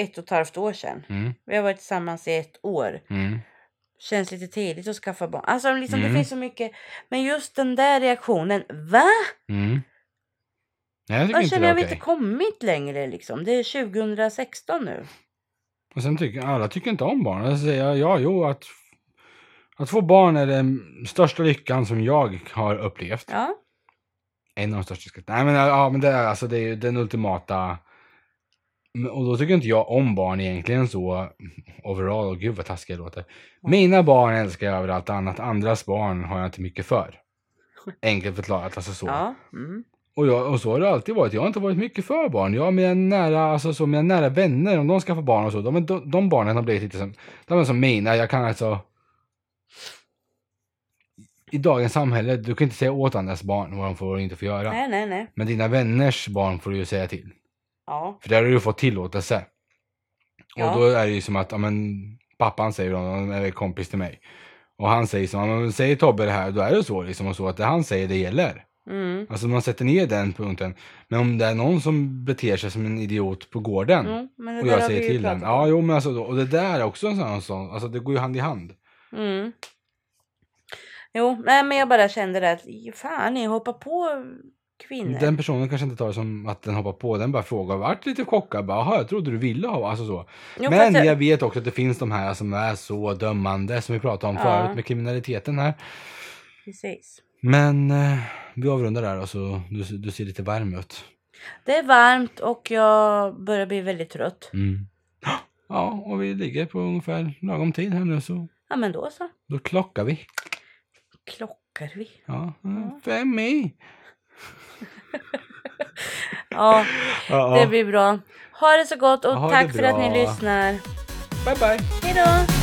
B: ett och ett halvt år sedan.
A: Mm,
B: Vi har varit tillsammans i ett år.
A: mm.
B: känns lite tidigt att skaffa barn. Alltså liksom,
A: Mm.
B: det finns så mycket. Men just den där reaktionen. Va?
A: Mm. Nej, jag tycker
B: Jag känner
A: inte det
B: jag
A: är
B: har
A: okej.
B: inte kommit längre liksom. Det är 2016 nu.
A: Och sen tycker alla tycker inte om barn. Jag säger jag, ja, jo, att, att få barn är den största lyckan som jag har upplevt.
B: Ja.
A: En av de största ska- Nej men, ja, men det, är, alltså, det är ju den ultimata... Men- Och då tycker inte jag om barn egentligen så overall. Och gud vad taskig jag låter. Mina barn älskar jag över allt annat. Andras barn har jag inte mycket för. Enkelt förklarat, alltså så.
B: ja. Mm.
A: Och, jag, och så har det alltid varit. Jag har inte varit mycket för barn. Jag har mina nära, alltså så, mina nära vänner, om de skaffar barn och så, de, är- de, de barnen har blivit lite som, de är som mina. Jag kan alltså... I dagens samhälle, du kan inte säga åt andras barn vad de får och inte får göra.
B: Nej, nej, nej.
A: Men dina vänners barn får du ju säga till.
B: Ja.
A: För där har du ju fått tillåtelse.
B: Ja.
A: Och då är det ju som att, ja men pappan säger om han är kompis till mig. Och han säger som, ja, men säger Tobbe det här, då är det så liksom och så att det han säger det gäller.
B: Mm.
A: Alltså man sätter ner den punkten. Men om det är någon som beter sig som en idiot på gården
B: Mm. Men det
A: och
B: där
A: jag
B: har
A: säger
B: vi ju
A: till den.
B: pratat om.
A: Ja, jo men alltså, då- och det där är också en sån, sån alltså det går ju hand i hand.
B: Mm. Jo, nej men jag bara kände det att fan ni hoppar på kvinnor.
A: Den personen kanske inte tar det som att den hoppar på den bara frågar vart lite chockad bara "Jaha, jag trodde du ville ha alltså så.
B: jo,
A: Men
B: fast jag-
A: jag vet också att det finns de här som är så dömande som vi pratade om
B: Ja.
A: förut med kriminaliteten här.
B: Precis.
A: Men eh, vi avrundar där och så du, du ser lite varm ut.
B: Det är varmt och jag börjar bli väldigt trött.
A: Mm. [gasps] Ja, och vi ligger på ungefär lagom tid här nu så
B: Ja men då så.
A: då klockar vi.
B: Klockar vi.
A: Ja,
B: Ja.
A: fem i.
B: Ja,
A: Ja,
B: det blir bra. Ha det så gott och
A: Ha det
B: tack för att ni
A: bra.
B: lyssnar.
A: Bye bye.
B: Hej då!